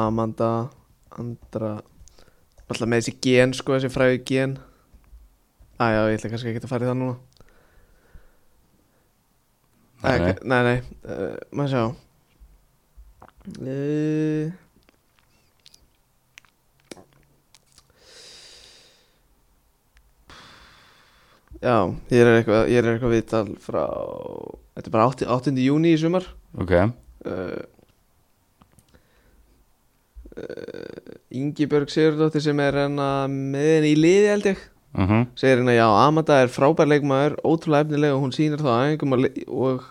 S1: Amanda, Andra Alltaf með þessi gen sko, þessi fræði gen Æja, ég ætla kannski ekki að fara í það núna
S2: Nei,
S1: Nei,
S2: nei.
S1: nei, nei, uh, maður sjá uh, Já, ég er eitthvað, ég er eitthvað viðtal frá Þetta er bara 8. 8. júni í sumar
S2: ok,
S1: uh, Eh, Ingibjörg Sigurdóttir sem er hérna með henni í liði held ég
S2: uh
S1: segir hérna já, Amanda er frábær leikmaður ótrúlega efnileg og hún sýnir þá æfingum og, le og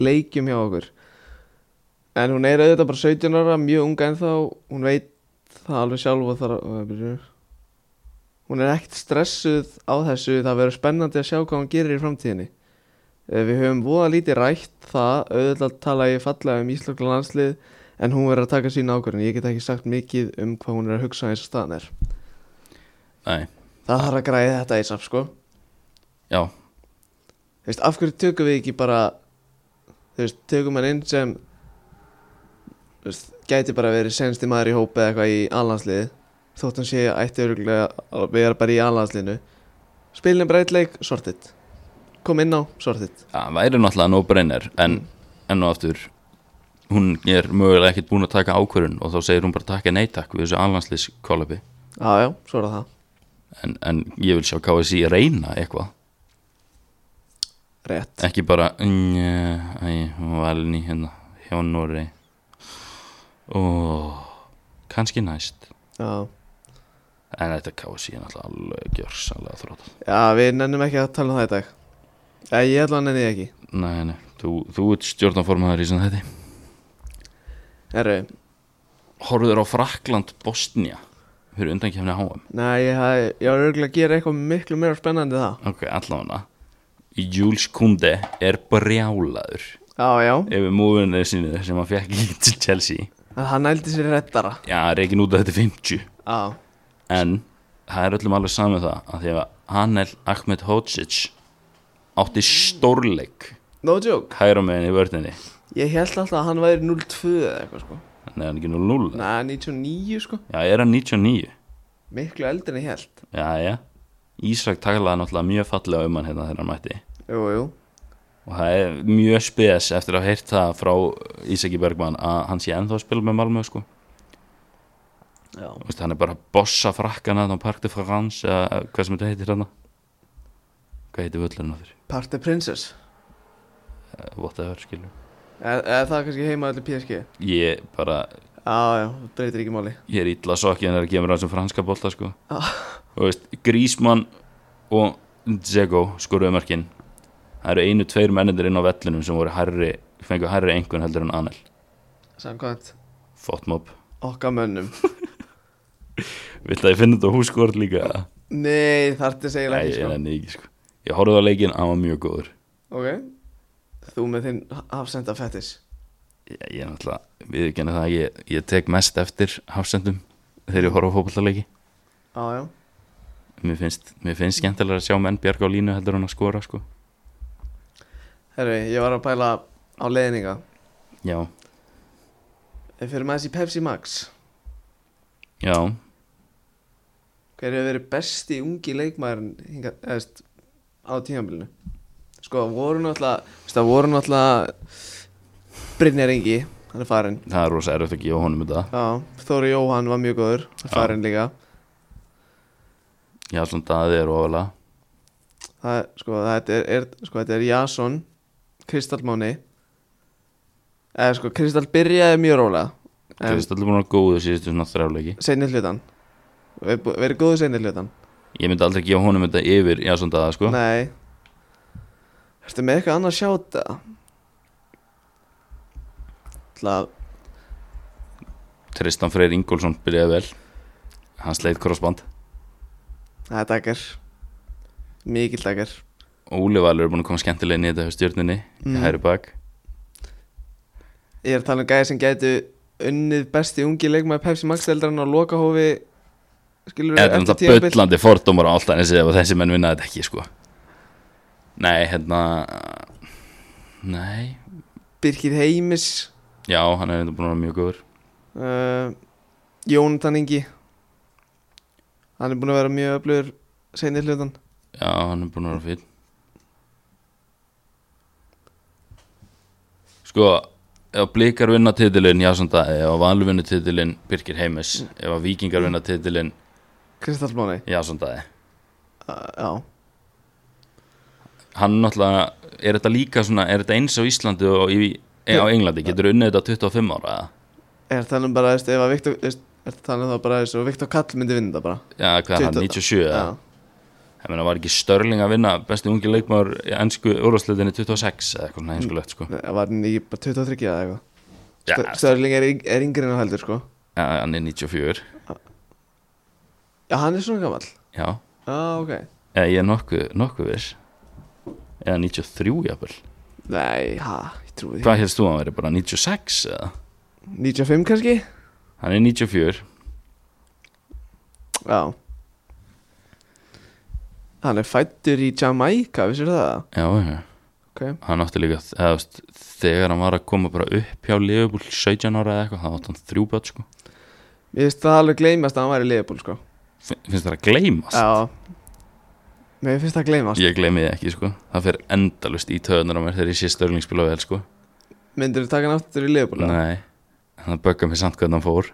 S1: leikjum hjá okkur en hún er auðvitað bara 17 ára, mjög unga ennþá hún veit það alveg sjálf og þar og það byrju hún er ekkert stressuð á þessu það verður spennandi að sjá hvað hún gerir í framtíðinni Eh, við höfum voða lítið rætt það auðvitað tala ég fallega um Íslokla landslið en hún verður að taka sína ákvörðin ég get ekki sagt mikið um hvað hún er að hugsa eins og staðan er
S2: nei,
S1: það þarf að græða þetta í samt sko
S2: já
S1: Þú veist, af hverju tökum við ekki bara Þú veist, tökum hann inn sem Þú veist, gæti bara verið sensti maður í hópi eða eitthvað í alhansliði Þótt hann sé ætti öruglega að vera bara í alhansliðinu Spilin bara eitt leik, sortið Kom inn á, sortið
S2: það væri náttúrulega no brainer en enn og aftur hún er mögulega ekkit búin að taka ákvörun og þá segir hún bara takka neittak við þessu alhanslís kollabi
S1: Já, já, svo er það
S2: en, en ég vil sjá KSI reyna eitthvað
S1: Rétt
S2: ekki bara æ, hún var alveg ný hérna hjá Norri og kannski næst
S1: Já,
S2: en þetta KSI er náttúrulega alveg gjörsanlega þrótt
S1: já við nennum ekki að tala um það í dag Já, ég ætla að nenni því ekki
S2: nei, nei, þú, þú ert stjórnformaður í sem þetta
S1: Herru,
S2: horfður á Frakland Bosnia fyrir undankefni HM
S1: nei, ég, hafði- ég var öruglega að gera eitthvað miklu meira spennandi en það
S2: ok, allavega Jules Kunde er brjálaður
S1: Já, já,
S2: yfir múvinni sinni sem hann fekk í Chelsea
S1: hann nældi sér reddara
S2: já, reikin út að þetta er 50
S1: Já,
S2: en það er öllum alveg samið það að því að Anel Ahmed Hodzic átti stórleik
S1: No joke
S2: hæra meginn í vörðinni
S1: Ég held alltaf að hann væri 0-2 eða eitthvað sko
S2: Nei, hann er ekki 0-0
S1: Næ, 99 sko
S2: Já, er hann 99?
S1: Miklu eldri en ég held
S2: Já, já Ísak talaði náttúrulega mjög fallega um hann hérna þegar hann mætti
S1: Jú, jú
S2: og það er mjög spes eftir að heyrt það frá Ísaki Bergman að hann sé ennþá að spila með Malmö sko.
S1: Já
S2: Vist, hann er bara að bossa frakkana þannig á Parc de France eða hvað sem þetta heitir hann hvað heitir völlurinn á fyrir
S1: Parte Princess
S2: whatever skilur
S1: Eða eða það er kannski heima allir PSG
S2: ég bara
S1: Já, já, það breytir ekki máli
S2: ég er illa sokkið en það kemur að þessum franska bolta sko.
S1: Já.
S2: og veist, Grísmann og Dzeko skoruðu mörkin það eru einu tveir mennir inn á vellinum sem voru herri, fengu herri einhvern heldur en Anel
S1: Samkvæmt
S2: Fotmob,
S1: Okka mönnum
S2: vilt að ég finna þetta húskort líka eða?
S1: Nei, þar til segir
S2: Nei,
S1: ekki
S2: ég
S1: sko
S2: nenni ekki sko Ég horfði á leikinn, hann var mjög góður
S1: Ok Þú með þinn hafsenda fettis
S2: Ég, ég er náttúrulega, við genið það ég, ég tek mest eftir hafsendum Þegar ég horfði á fótballaleiki
S1: Já, já
S2: mér finnst, mér finnst skemmtilega að sjá menn bjarga á línu heldur hann að skora sko
S1: Herri, ég var að pæla á leiðninga
S2: Já,
S1: Ef fyrir maður þessi Pepsi Max
S2: já,
S1: Hver hefur verið besti ungi leikmæðurinn hinga, eðst, á tímabilinu? Sko, það voru náttúrulega, veist, það voru náttúrulega Brynjar Ingi, hann er farinn.
S2: það er rosa erfitt að gefa honum þetta
S1: Já, Þóri Jóhann var mjög góður, hann er
S2: Já.
S1: farinn líka.
S2: Já, svona daði er ofalega
S1: Það, er- sko, þetta er, er, sko, þetta er Jason, Kristallmáni. Eða, sko, Kristall byrjaði mjög rólega. En
S2: Kristall er búin að vera góður síðustu svona þrjáleiki
S1: seinni hlutan. Ver- Verið góður seinni hlutan.
S2: Ég myndi aldrei gefa honum þetta yfir, já, svona daði sko
S1: Nei. Ertu með eitthvað annað að sjáta? Það
S2: Tristan Freyr Ingólfsson byrjaði vel Hann sleit krossband
S1: Það er daggar Mikil daggar
S2: Óli Valur er búin að koma skemmtilega inn í þetta hjá stjörninni
S1: Mm.
S2: mm. Hæri bak
S1: Ég er að tala um gæði sem gætu unnið besti ungi leikmaði Pepsi Max eldrarinn á lokahófi Skilur
S2: Þetta er náttúrulega böllandi fordómar á allt annars ef að þessi menn vinna þetta ekki sko Nei, hérna Nei
S1: Birkir Heimis
S2: Já, hann er þetta búin að vera mjög góður
S1: uh, Jónatan Ingi Hann er búin að vera mjög öflugur seinni hlutan
S2: Já, hann er búin að vera fín Sko Ef blikar vinna titilin, já samt að Ef valur vinna titilin, Birkir Heimis Ef að vikingar vinna titilin,
S1: Kristallmóni
S2: já samt að
S1: uh, Já
S2: Hann náttúrulega, er þetta líka svona Er þetta eins á Íslandi og í, á Englandi Getur unnið þetta á 25 ára eða?
S1: Er að tala um bara, veist, ef að Viktor veist, Er að tala um það bara, veist, og Viktor Kall myndi vinna þetta bara
S2: Já, hvað er hann,
S1: 28?
S2: 97 eða? ég meina var ekki Störling að vinna besti ungi leikmár í ennsku úrvarsleitinni 26 eða eitthvað svona ennskulegt sko
S1: Nei, Var hann ekki bara 23 eða eitthvað
S2: já,
S1: Mm, Stör- Störling er, yng- er yngri en á heldur sko
S2: já, hann er 94
S1: Já, hann er svona gamall
S2: já,
S1: Já, ok
S2: eða ég er nokkuð nokku viss eða 93 jafnvel
S1: Nei, ha, ég trúi því
S2: hvað helst þú að hann veri bara 96 eða
S1: 95 kannski?
S2: hann er 94
S1: Já Hann er fættur í Jamaica, vissir það?
S2: já, já,
S1: Ok
S2: hann átti líka eða, þú veist, þegar hann var að koma bara upp hjá Liverpool 17 ára eða eitthvað, það átti hann þrjú börn sko
S1: Ég veist það alveg gleymast að hann var í Leifbúl, sko
S2: Fin- finnst það að gleymast
S1: Já Mér finnst það gleymast
S2: ég gleymi því ekki sko það fer endalust í töðunar á mér þegar ég sé Störling spila vel sko
S1: Myndirðu taka hann aftur í Leifbúl?
S2: nei, hann böggar mig samt hvernig hann fór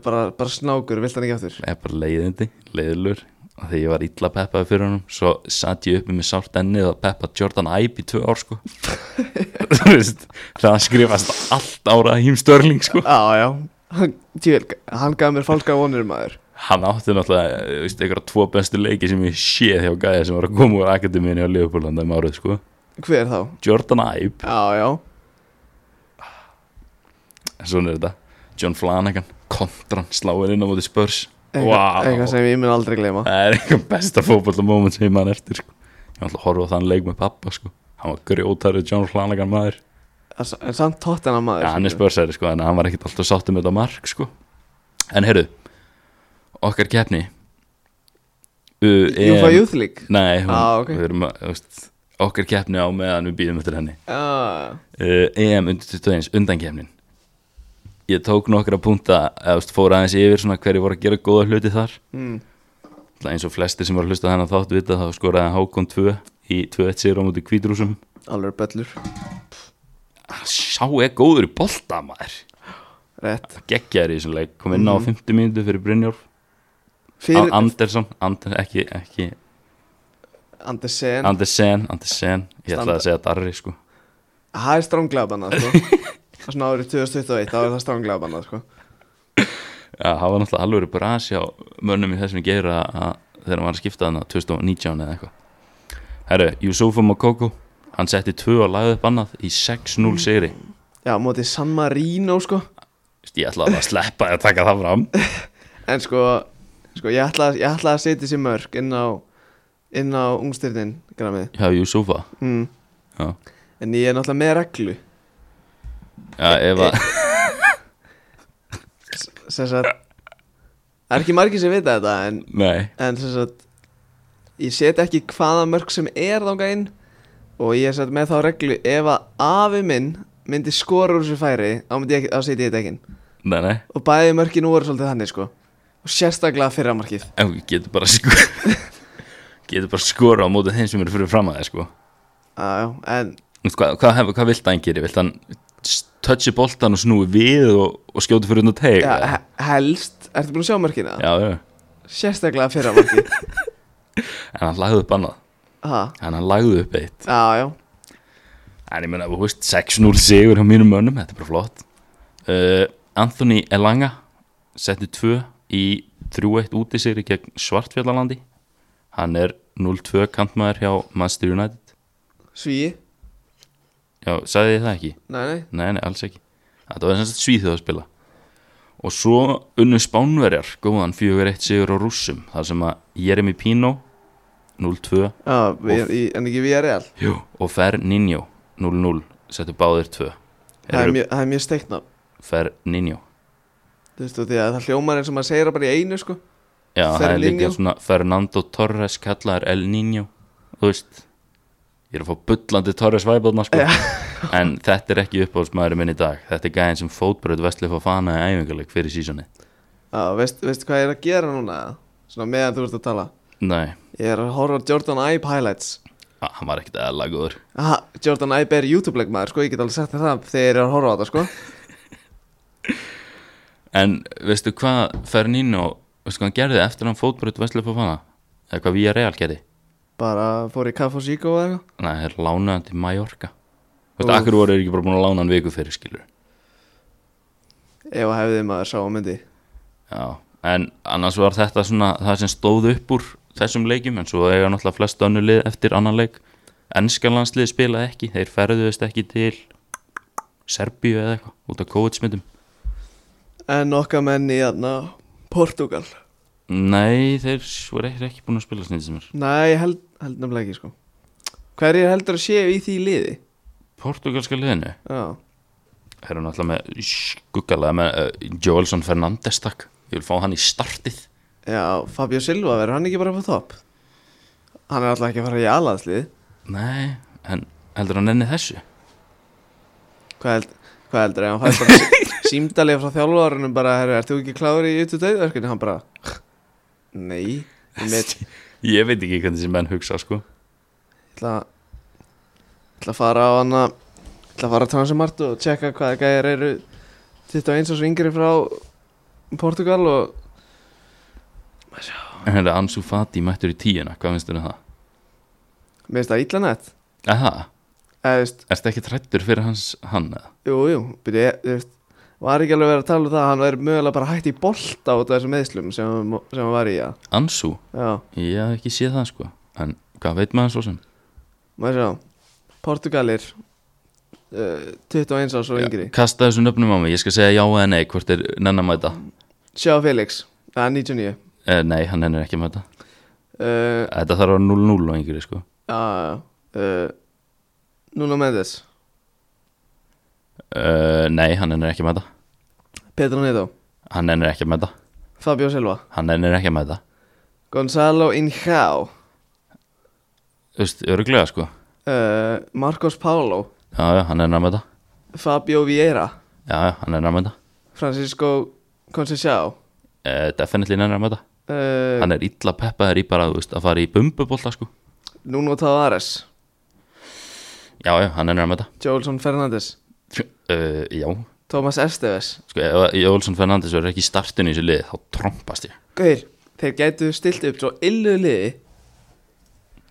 S1: Bara, bara snákur, vilt hann ekki aftur?
S2: er bara leiðindi, leiðilur og þegar ég var illa peppaði fyrir honum svo satt ég uppi með sárt ennið að peppa Jordan Ibe í tvö ár sko Þú veist, það skrifast allt ára hím Störling sko
S1: Já, já Hann, tjöl, hann gaf mér falska vonir maður
S2: hann átti náttúrulega, eh, þú veist, einhverja tvo bestu leiki sem ég séð hjá gæði sem var að koma úr akademiðinu á Leopoldanda um árið sko
S1: Hver þá?
S2: Jordan Ibe,
S1: Já, já
S2: svona er þetta John Flanagan, kontran, sláin inn á móti spörs
S1: Eitthvað- Eitthvað sem ég mun aldrei gleyma
S2: það er eitthvað besta fótballmoment sem ég mann eftir sko. ég ætla að horfa á þann leik með pappa sko. hann var grjótarður John Flanagan maður
S1: En samt tótt hennar maður
S2: ja, hann er
S1: skilurðu.
S2: spörsæri sko, en hann var ekkert alltaf sáttum með þetta mark sko. en heyrðu okkar keppni uh,
S1: Júfa Youth League
S2: Nei, hún,
S1: Ah, ok.
S2: við erum að, þú veist, okkar keppni á meðan við býðum eftir henni
S1: ah,
S2: uh, EM undir 21, undankeppnin Ég tók nokkra punta eða þú veist, fór aðeins yfir svona hverju voru að gera góða hluti þar
S1: mm,
S2: Náttúrulega eins og flestir sem var að hlusta þennan þátt vita þá skoraði Hákon 2 í 2-1 sigur á múti kvítrúsum
S1: Alveg böllur
S2: Ah, Sá er góður í bolta maður
S1: Rett
S2: Gekkjaður í þessum leik, kom inn á 50 mínútu fyrir Brynjólf
S1: Mm. Fyrir
S2: Andersson, Ander, ekki, ekki
S1: Andersen
S2: Andersen, Andersen Ég ætlaði
S1: Standa-
S2: að segja Darri sko
S1: Það er stránglega bannað sko Svona árið 2021 þá er það stránglega bannað sko
S2: Já, það var náttúrulega alveg brasi á mönnum í þessum geira að þegar maður var að skipta þarna 2019 eða eitthvað Herru, Yusufa Mokoko hann setti tvö og lagði upp annað í 6-0 sigri
S1: Já, mótið San Marino sko
S2: Vist, Ég ætlaði bara að sleppa að taka það fram
S1: En sko, sko ég, ætla, ég ætla að setja sér mörg inn á inn á ungstyrnin græmið
S2: Já, Yusufa
S1: mm.
S2: Já,
S1: En ég er náttúrulega með reglu
S2: Já ef að
S1: sem sagt það er ekki margir sem vita þetta en,
S2: Nei,
S1: en sem sagt ég set ekki hvaða mörg sem er þangað inn og ég er sett með þá reglu ef að afi minn myndi skora úr þessu færi þá myndi ég ekki, þá seti ég þetta ekki inn.
S2: nei, nei
S1: og bæði mörgin voru svolítið þannig sko og sérstaklega fyrra markið
S2: Ef við getum bara sko getum bara skora á mótið þeim sem eru fyrir fram að þeir sko
S1: ah, en
S2: Vist, Hvað, hvað, hef- hvað vilt hann gera? Vilt hann s- touchi boltan og snúi við og, og skjóti fyrir undan teig?
S1: ja,
S2: eða?
S1: he- helst, ertu búin að sjá mörgina?
S2: já, já
S1: sérstaklega fyrra markið
S2: En hann lagði upp annað
S1: ha,
S2: En hann lagði upp eitt
S1: já, já,
S2: En ég meina, þú veist, 6-0 sigur á mínum mönnum, þetta er bara flott uh, Anthony Elanga setti 2 í 3-1 úti sigri gegn Svartfjallalandi Hann er 0-2 kantmaður hjá Manchester United
S1: svíi
S2: Já, sagði ég það ekki?
S1: nei, nei,
S2: Nei, nei, alls ekki Þetta var þess að svíþjóð að spila Og svo unnu Spánverjar, góðan 4-1 sigur á rússum Þar sem að Jeremy Pino 0-2
S1: ah, við, í, en ekki við erum real
S2: Jú. og Ferninho 0-0 settu báðir 2
S1: það er mjög- það er mjög steiknafn
S2: Ferninho
S1: Þú veist, og því að það hljómar eins og maður segir það bara í einu, sko.
S2: Já, það er
S1: Fernandinho.
S2: líka svona Fernando Torres kallaður El Niño Þú veist Ég er að fá bullandi Torres væbóðna sko En þetta er ekki uppáhaldsmaðurinn minn í dag Þetta er gæðin sem fótbröð vestlið fór fana í æfingarleik fyrir sísoni
S1: Já, veist, veistu hvað ég er að gera núna? Svona meðan þú ert að tala.
S2: Nei,
S1: Ég er að horfa á Jordan Ibe highlights.
S2: á, hann var ekkert eða góður
S1: Aha, Jordan Ibe er YouTube-leik maður, sko, ég get alveg sagt þér það þegar ég er að horfa á þetta, sko.
S2: En veistu hvað Ferninho Veistu hvað hann gerði eftir hann fótbröð vestlið fór fana Eða hvað við að real gerði
S1: Bara fór í kaff og síkó eða eitthvað.
S2: Nei, það er lánaðan til Mallorca Þú veist,
S1: Úff.
S2: akkur voru þeir ekki bara búin að lána hann viku fyrir skilur
S1: Ef að hefði maður sá á myndi.
S2: Já, en annars var þetta svona það sem stóð upp úr þessum leikjum en svo eiga náttúrulega flest önnu lið eftir annan leik Enskalandslið spilaði ekki, þeir ferðuðist ekki til Serbíu eða eitthvað, út af COVID-smittum
S1: En okkar menn í, þarna, Portugal.
S2: Nei, þeir voru ekki, ekki búin að spila snýtt sem er
S1: Nei, held, held nefnilega ekki, sko. Hverjir heldur að séu í því liði?
S2: Portugalska liðinu,
S1: Já,
S2: þeir eru náttúrulega með skuggalega með uh, Joelson Fernandes takk, ég vil fá hann í startið
S1: já, Fabio Silva, verður hann ekki bara på topp? Hann er alltaf ekki að fara í alaðslið.
S2: Nei, en heldur hann enni þessu?
S1: Hvað, held, hvað heldur ég, hann fær bara sí- símdalið frá þjálfarunum bara, herru, ert þú ekki kláður í YouTube dæðverkinu? Hann bara, nei, ég mitt, ég
S2: Ég veit ekki hvernig þessi menn hugsa sko
S1: ætla, að- ég ætla að fara á hana, ég ætla að fara á Transmart og tjekka hvaða gæjar eru 21 og svo yngri frá Portugal og
S2: En hérna Ansu Fati mættur í tíuna, hvað finnst þér um það?
S1: mér finnst það illa nett,
S2: Aha,
S1: eða þú veist,
S2: ertu ekki trættur fyrir hans hann eða?
S1: jú, jú, byrju, ég- þú veist, var ekki alveg verið að tala um það, að hann verið mögulega bara hægt í bolta út af þessum meðslum sem, hann- sem hann var í, já,
S2: Ansu?
S1: já,
S2: Ég hef ekki séð það sko En hvað veit maður svo sem?
S1: maður sjá, Portugalir, uh, 21 árs og yngri
S2: Kasta þessu nöfnum á mig, ég skal segja já eða nei Hvort er nenn að mæta?
S1: Sjá Felix, það er 99
S2: Eh, nei, hann nennir ekki að mæta
S1: uh,
S2: Þetta þarf að vera 0-0 og yngri sko
S1: uh, uh, Nuno Mendes
S2: uh, Nei, hann nennir ekki að mæta
S1: Pedro Neto,
S2: Hann nennir ekki að mæta
S1: Fabio Silva
S2: Hann nennir ekki að mæta
S1: Gonzalo Injao
S2: Þú veist, öruglega sko
S1: uh, Marcos Paulo
S2: Já, já, hann er nær með þetta
S1: Fabio Vieira
S2: Já, já, hann er nær með þetta
S1: Francisco Conceição
S2: uh, Definitely nær með þetta
S1: uh,
S2: Hann er illa peppaður í bara, þú veist, að fara í bumbubólta sko
S1: Nuno Tavares
S2: Já, já, hann er nær með
S1: Jolson Fernandes
S2: þetta uh, Já,
S1: Thomas Esteves
S2: sko, ef Jólfsson Fernandes verður ekki í startinu í þessu liði, þá trompast ég
S1: Gauir, þeir gætu stilt upp svo illu liði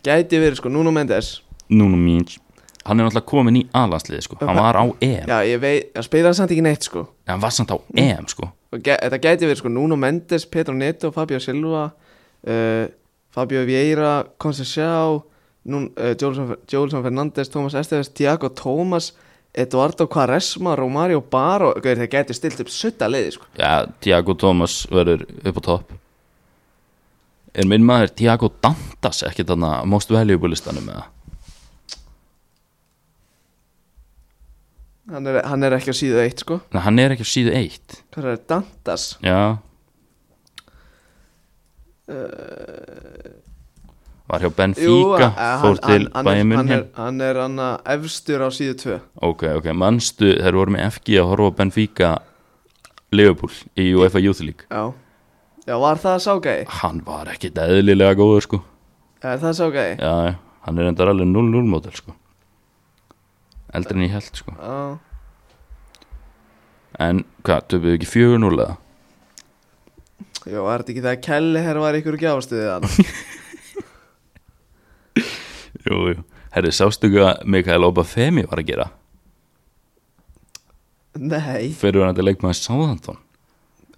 S1: Gæti verið sko Nuno Mendes
S2: Núna mín Hann er náttúrulega komin í aðlandsliði sko Hann var á EM,
S1: Já, ég veit, að spila samt ekki neitt sko
S2: en hann var samt á EM sko
S1: Og gæ, Þetta gæti verið sko Nuno Mendes, Pedro Neto, Fabio Silva uh, Fabio Vieira, Conceição Nun- uh, Jolson Jolson Fernandes, Thomas Esteves Thiago Thomas, Eduardo Quaresma Romario Baro, gauir, þeir gætu stilt upp sutta liði sko
S2: Já, Tiago Thomas verður upp á topp Er minn maður Tiago Dantas ekki þarna most valuable listanum með það?
S1: Hann er, hann er ekki á síðu eitt sko
S2: Nei, hann er ekki á síðu eitt
S1: Hvað er það? Dantas
S2: Já Var hjá Benfica
S1: að- eh,
S2: Fór
S1: hann-
S2: til
S1: hann- hann er-
S2: Bayern
S1: hann
S2: München
S1: er- Hann er hann að efstur á síðu 2
S2: Ok, ok, manstu þeir voru með FG að horfa á Benfica Liverpool í UEFA Youth League
S1: Já Já, var það ságæði?
S2: Hann var ekkit eðlilega góður sko
S1: Er það ságæði?
S2: Já, já, hann er endar alveg 0-0 mótel sko Eldri en ég held sko
S1: Já
S2: En hvað, töpuðu ekki 4-0 eða?
S1: Jó, er þetta ekki það að Kelly hér var ykkur gjástuðið hann?
S2: Jú, jú Herri, sástu hvað Mikael Obafemi var að gera?
S1: Nei
S2: Fyrir hann að leikmaði Sáðantón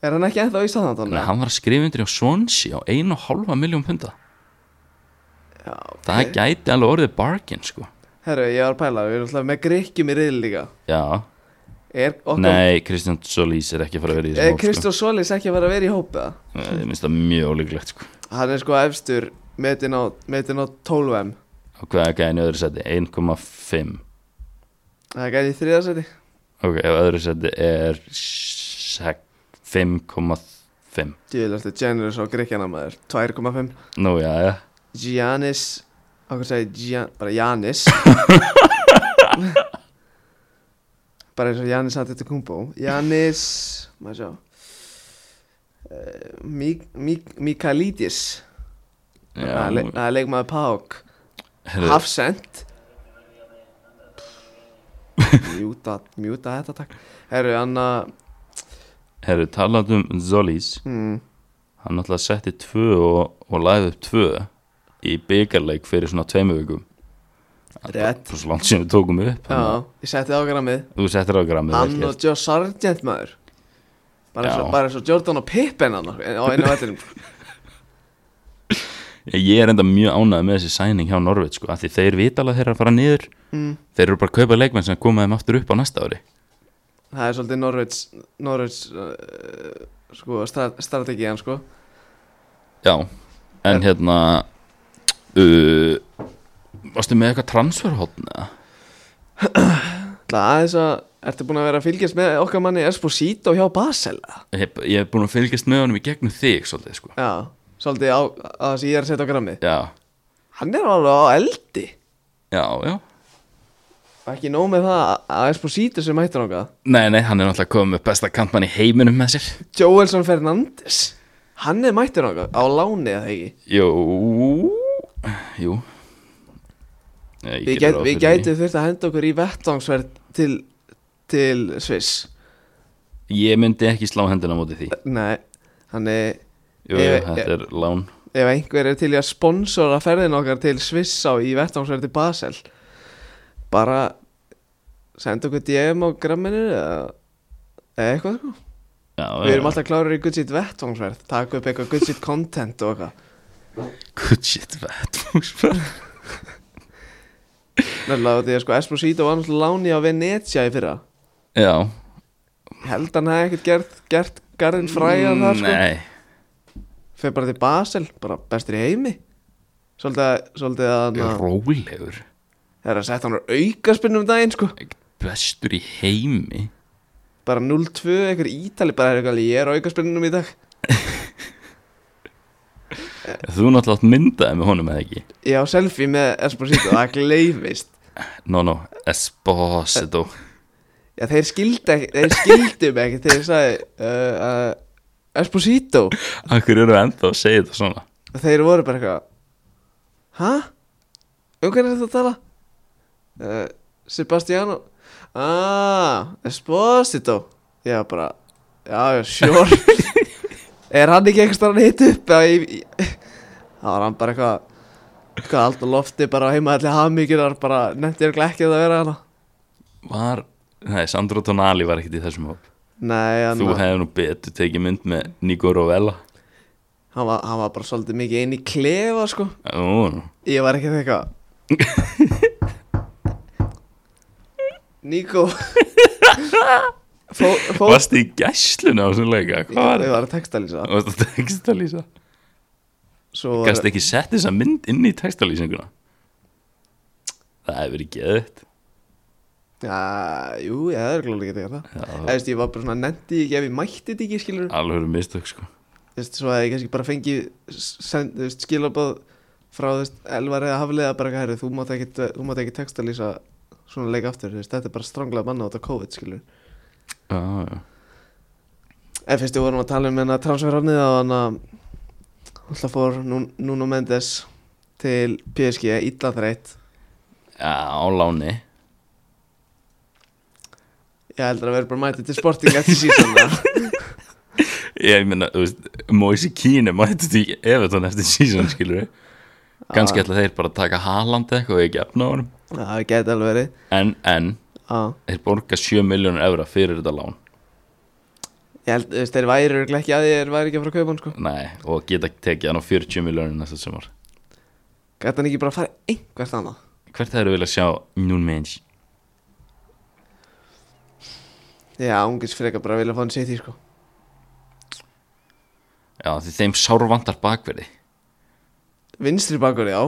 S1: Er hann ekki ennþá í Southampton?
S2: Nei, hann var að skrifa undir á Swansea á 1,5 miljón punda
S1: Já
S2: Það gæti alveg orðið bargain sko
S1: Herru, ég var að pæla, við erum alltaf með grikkjum í riðil líka
S2: Já,
S1: Er okkur
S2: nei, Kristján Solís er ekki að fara að vera í
S1: Er
S2: þessum hóp, sko.
S1: Kristján Solis ekki að vera að vera í hópa?
S2: Nei, Ég minnst Eh, það mjög ólíklegt sko
S1: Hann er sko efstur metin á, metin á 12M
S2: Og hvað er gæðin í öðru seti? 1,5
S1: Það gæti í þriðarsæti
S2: Ok, og öðru seti er sek- 5,5
S1: Djúðilegstu generous á grikkjana maður 2,5
S2: Nú, já, já
S1: Giannis Okkur segi Gian, bara Giannis Bara eins og Giannis hann þetta kumbo Giannis Maður sjá uh, Mikalidis
S2: Já,
S1: Það er leikmaður Pák
S2: herri,
S1: Hafsend Mjúta, mjúta þetta takk Herru, Anna
S2: herri talandi um Solís
S1: mm,
S2: hann náttúrulega setti tvö og, og lagði upp tvö í byggarleik fyrir svona tveimu vikum Það er
S1: Rétt.
S2: bara svo langt sem við tókum upp
S1: Já,
S2: þannig að
S1: ég setti ágramið
S2: þú settir á grammið
S1: Hann
S2: ekki?
S1: og Joe Sargent maður Bara
S2: Já.
S1: svo, bara svo Jordan og Pippen hann á á einu vellinum
S2: Ég- ég er enda mjög ánægð með þessi sæning hjá Norveit sko, af því þeir vitalega þeirra að fara niður
S1: Mm.
S2: þeir eru bara að kaupa leikmenn sem koma þeim aftur upp á næsta ári
S1: Það er svolítið Norveits Norveits uh, sko, stra strategiðan sko
S2: já, en hérna uh, varstu með eitthvað transferhóttn eða?
S1: Það aðeins að Ertu búin að vera að fylgjast með okkar manni Esposito hjá Basel eða?
S2: Ég, ég hef búin að fylgjast með honum í gegnum þig svolítið sko
S1: Já, svolítið á, að það sem ég er að setja á grammið
S2: já,
S1: Hann er alveg á eldi
S2: já, já
S1: Og ekki nóg með það að Esposito sem mættur okkar
S2: nei, nei, hann er náttúrulega komið með besta kantmann í heiminum með sér
S1: Joelson Fernandes Hann er mættur okkar á láni eða ekki
S2: Jú Jú Nei,
S1: Við,
S2: ég geri
S1: gæt,
S2: ráð
S1: við
S2: fyrir
S1: gætum þurft að henda okkur í vettvangsverð til, til Sviss
S2: því. Ég myndi ekki slá hendina á móti því
S1: Nei, þannig
S2: Jú,
S1: Ég-
S2: jú, þetta er lán
S1: ef einhver er til í að sponsora ferðin okkar til Sviss á í vettvangsverð til Basel bara senda okkur DM á gramminu eða eða eitthvað sko
S2: já,
S1: Við erum alltaf klárir í good shit vettvangsverð taka upp eitthvað good shit content og eitthvað
S2: Good shit, sko. vettvangsferð
S1: Nefnilega því að sko Esposito var náttúrulega láni á Venetia í fyrra
S2: Já
S1: Ég held hann hefði ekkert gert, gert garðin fræðan þar sko
S2: Nei
S1: fer bara til Basel, bara bestur í heimi svolítið, svolítið að hann
S2: Rólegur
S1: það er að setja hann á aukaspinnum daginn sko
S2: Bestur í heimi
S1: bara 0-2, einhver ítali bara er eitthvað, ég er á aukaspinnum í dag
S2: Þú náttúrulega átt myndaði með honum eða ekki
S1: Já, selfie með Esposito, það gleifist
S2: No, no, Esposito
S1: Já, þeir skildu ekki, þeir skildu mig ekki þegar ég sagði uh, uh, Esposito
S2: Akkur eru ennþá að segja þetta svona
S1: og þeir voru bara eitthvað Hæ? Um hvernig er þetta að tala? Uh, Sebastiano Ah, Esposito Já, bara, já, já, sure Er hann ekki einhvers staðar hitt upp? Já, ég, ég, þá var hann bara eitthvað eitthvað allt á lofti bara á heima allir hafmyggjur bara nefndi ég ekki að það vera hana
S2: Var, nei, Sandro Tonali var ekkert í þessum hóp
S1: Nei, hann,
S2: Þú
S1: var-
S2: hefði nú betur tekið mynd með Nico Rovella
S1: hann, var, hann var bara svolítið mikið inn í klefa sko
S2: Ú, nú.
S1: Ég var ekki eitthvað Nico Fó, fó,
S2: Varstu í gæsluna á þessum leika? Hvað var
S1: Ég
S2: þetta?
S1: var að textalýsa
S2: Varstu að textalýsa?
S1: Svo var
S2: Gast ekki sett þessa mynd inn í textalýsinguna? Það hefur verið geðið
S1: ja, Jú, ég hefði örugglega ekki tekið það Eða, veist, Ég var bara svona nendi ekki ef ég mætti þetta ekki skilur
S2: Alveg verið mistök sko
S1: veist, Svo að ég kannski bara fengi send, veist, skilabóð frá þú veist, Elvar eða Hafliða bara hæri, þú mátt ekki, þú mátt ekki textalýsa svona leik aftur, þú veist, þetta er bara stranglað manna út af COVID skilur
S2: Já, já
S1: En fyrst við vorum að tala um hérna transferrafnið á hann að alltaf fór Nú- Nuno Mendes til PSG illa þreitt
S2: Já, á láni
S1: Ég heldur að vera bara mætið til Sporting eftir sísona
S2: Ég meina, þú veist, Moise Keane mætti því Evertón eftir season, skilur við Ganski ætla þeir bara að taka Haaland eitthvað og ekki efna á honum
S1: Það geti alveg verið
S2: En, en,
S1: Já.
S2: þeir borga 7 miljónur evra fyrir þetta lán
S1: Ég held, þú veist, þeir væri örugglega ekki að því þeir væri ekki að fara að kaupa hann sko
S2: Nei, og geta tekið hann á 40 miljónur næsta sumar
S1: Gæti hann ekki bara að fara einhvert annað
S2: Hvert hefur viljað sjá Njún Mensch?
S1: Já, ungis frekar bara að vilja fá hann sitt í sko
S2: Já, því þeim sárvantar bakverði
S1: Vinstri bakur, já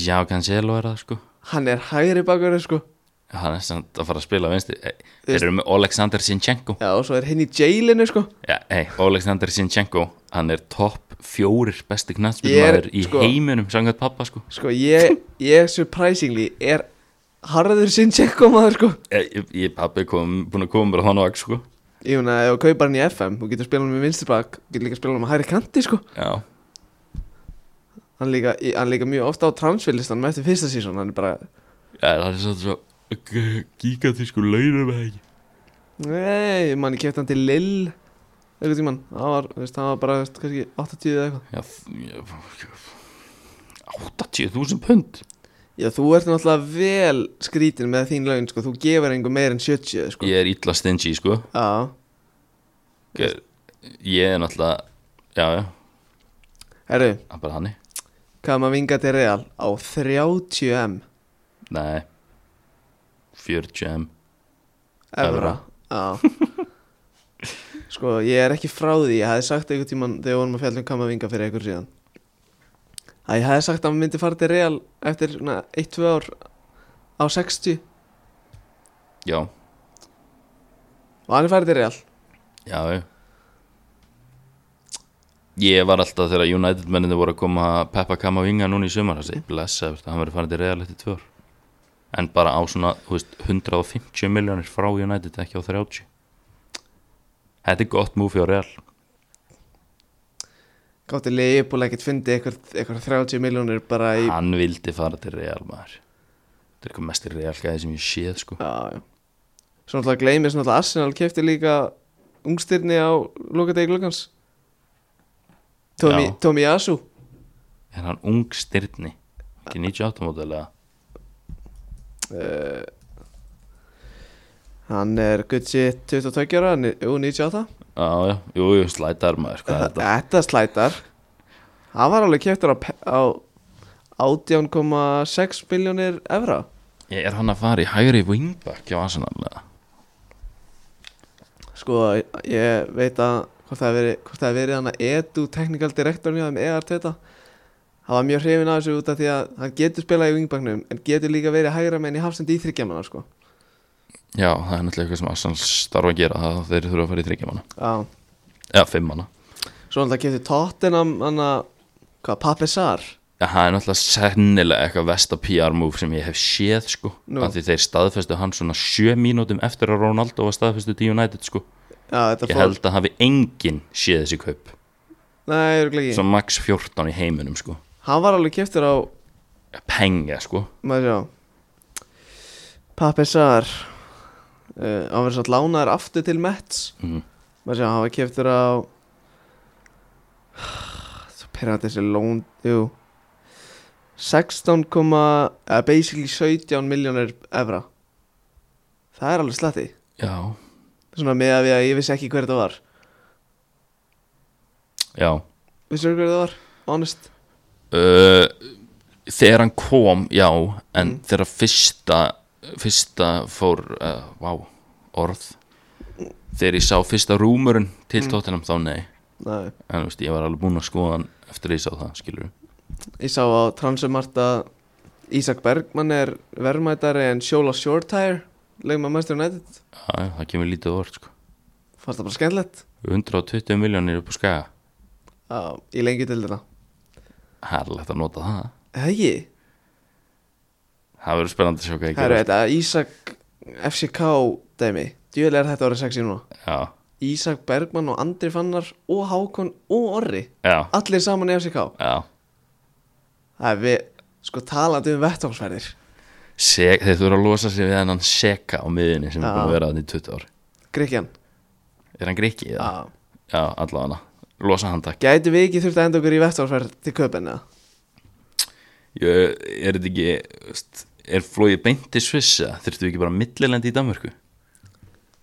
S2: Já, Cancelo er það, sko
S1: Hann er hægri bakur, sko
S2: Hann er samt að fara að spila vinstri Eh,
S1: Þú
S2: Þeir
S1: veist-
S2: eru með Oleksandr Sinchenko
S1: Já, og svo er hinn í jailinu sko
S2: Já, hey, Oleksandr Sinchenko Hann er topp fjórir besti
S1: Ég
S2: knatspilmaður
S1: er,
S2: í
S1: sko-
S2: heiminum Sangat pappa, sko
S1: Sko, ég, ég surprisingly er harður sinn maður sko
S2: Ég, ég- ég pappi kom, búin að koma bara þannig vaks sko
S1: Ég meina, ef þú kaupar hann í FM, þú getur spilað hann með vinstirbak, þú getur líka spilað hann með hæri kanti, sko.
S2: Já,
S1: Hann líka, í- hann líka mjög ofta á transferlistanum eftir fyrsta sísón, hann er bara,
S2: ja, það er svolítið svo g- gigantísku launum eða ekki
S1: nei, mann, ég kefti hann til Lill, eitthvað tímann, hann var, þú veist, hann var bara, þú veist, kannski 80 eða eitthvað.
S2: Já, f- ég- 80.000 pund
S1: Já, þú ert náttúrulega vel skrítin með þín laun, sko, þú gefur einhver meir en 70, sko.
S2: Ég er illa stingy sko
S1: Já,
S2: Ég ég er náttúrulega Já, já,
S1: herru,
S2: það er bara hannig
S1: hvað maður vinga til Real á 30M
S2: Nei 40M
S1: evra. Já. Sko, ég er ekki frá því, ég hefði sagt einhvern tímann þegar við vorum að fjalla um kamavinga fyrir einhver síðan að ég hefði sagt að hann myndi fara til Real eftir svona 1-2 ár á 60
S2: Já,
S1: og hann er farið til Real
S2: já, já Ég var alltaf þegar United menninni voru að koma að Peppa Kamavinga núna í sumar þessi, blessa, veist, hann verið farin til Real eftir tvör en bara á svona þú veist, 150 miljónir frá United ekki á 30 Þetta er gott múfi á Real
S1: gátti Leopold ekkert fyndi eitthvað 30 miljónir bara í
S2: Hann vildi fara til Real maður Þetta er eitthvað mest Real gæði sem ég séð sko
S1: já, já. svo náttúrulega gleymið svo náttúrulega Arsenal kefti líka ungstirni á lokadegi glukkans Tommy,
S2: Já.
S1: Tommy Asu
S2: Er hann ung styrni? Ekki 98 mótilega
S1: hann er gutt sér 22 ára hann er jú, 98
S2: Já, já, jú, jú, slætar maður Hvað er þetta?
S1: Þetta slætar Hann var alveg keftur á, pe- á 18,6 miljónir evra
S2: Ég er hann að fara í hægri wingback hjá Arsenal eða?
S1: Sko, ég veit að hvort það hefur verið, hvort það hefur verið hann að edu technical directorn hjá þeim E ER þetta Hann var mjög hrifin af þessu út af því að hann getur spilað í vingbaknum en getur líka verið hægra menn í hafsendi í þryggjamanna sko
S2: Já, það er náttúrulega eitthvað sem Arsenal starfa að gera það þeir þurfa að fara í þryggja manna
S1: Já,
S2: Já, fimm manna
S1: svo hann það keftur Tottenham hann að Hvað, Pappesar?
S2: Ja, það er náttúrulega sennilega eitthvað vesta PR move sem ég hef séð sko
S1: Nú.
S2: af því þeir staðfestu hann svona sjö mínútum eftir að Ronaldo var staðfestu til United sko
S1: Já, þetta
S2: ég
S1: fór
S2: held að hafi enginn séð þessi kaup
S1: Nei, örugglega ekki
S2: svo max 14 í heiminum sko
S1: Hann var alveg keftur á,
S2: penga sko
S1: maður sjá Pappesar uh, Hann verið satt lánaður aftur til Mets
S2: Mhm.
S1: Maður sjá, hann var keftur á Svo pyrrandi þessi lón Jú 16, eða basically 17 miljónir evra Það er alveg slatti
S2: já,
S1: Svona með að við að ég vissi ekki hver þetta var
S2: já
S1: Vissi hver þetta var? Honest
S2: uh, þegar hann kom já, en þegar fyrsta fyrsta fór uh, wow, orð þegar ég sá fyrsta rúmurinn til mm. tóttinam þá nei
S1: Nei
S2: en þú veist, ég var alveg búinn að skoða hann eftir að ég sá það, skilur
S1: Ég sá á Transumart að Ísak Bergmann er verðmætari en Sjóla Shortire Legum að Master United
S2: já, það kemur lítið orð sko.
S1: Fannst það bara skemmtilegt
S2: 120 miljónir upp á skaga
S1: Já, í lengi til þetta
S2: herrlegt að nota það
S1: Hegi,
S2: það verður spennandi að sjá hvað ég
S1: það eru þetta Ísak FCK dæmi Djúlega er þetta orðið sexy núna
S2: já,
S1: Ísak Bergmann og Andri Fannar og Hákon og Orri
S2: já,
S1: Allir saman í FCK
S2: já
S1: Það er við, sko talandi um vettvangsferðir
S2: Sek, þeir þurfa að losa sig við hennan seka á miðinni sem er
S1: Já.
S2: búin að vera þannig í 20 ári
S1: Grekjan
S2: er hann grikki? eða?
S1: Já
S2: já, allavega, losa hann takk
S1: Gæti við ekki þurft að enda okkur í vettvarsferð til köpen eða?
S2: Ég, er þetta ekki veist, er flóið beint til Sviss eða? þurftu ekki bara millilendi í Danmörku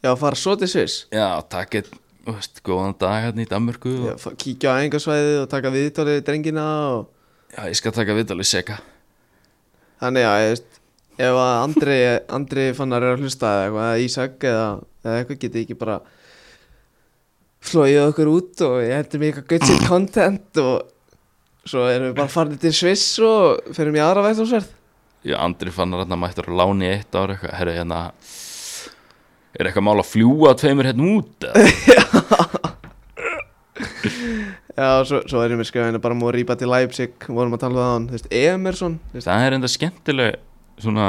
S1: Já, fara svo til Sviss
S2: já, takk eitt þú veist, góðan dag hérna í Danmörku
S1: Já,
S2: og,
S1: fa- Kíkja á engasvæðið og taka viðtólið við drengina og...
S2: já, ég skal taka viðtalið seka
S1: Þannig að, ég veist, ef að Andri, Andri fannar er að hlusta eða eitthvað, eða Ísak eða, eða eitthvað geti ekki bara flóið okkur út og ég hendur mig eitthvað gutsið content og svo erum við bara farin til Sviss og ferum í aðra vettvarsferð
S2: já, Andri fannar hérna mættur að láni í eitt ár eitthvað, herru hérna er eitthvað mál að fljúa tveimur hérna út eða?
S1: Já, svo, svo erum við skrifinu bara múið rýpa til Leipzig, vorum að tala um það á hann, þú veist, Emerson, þú veist,
S2: það er enda skemmtileg svona,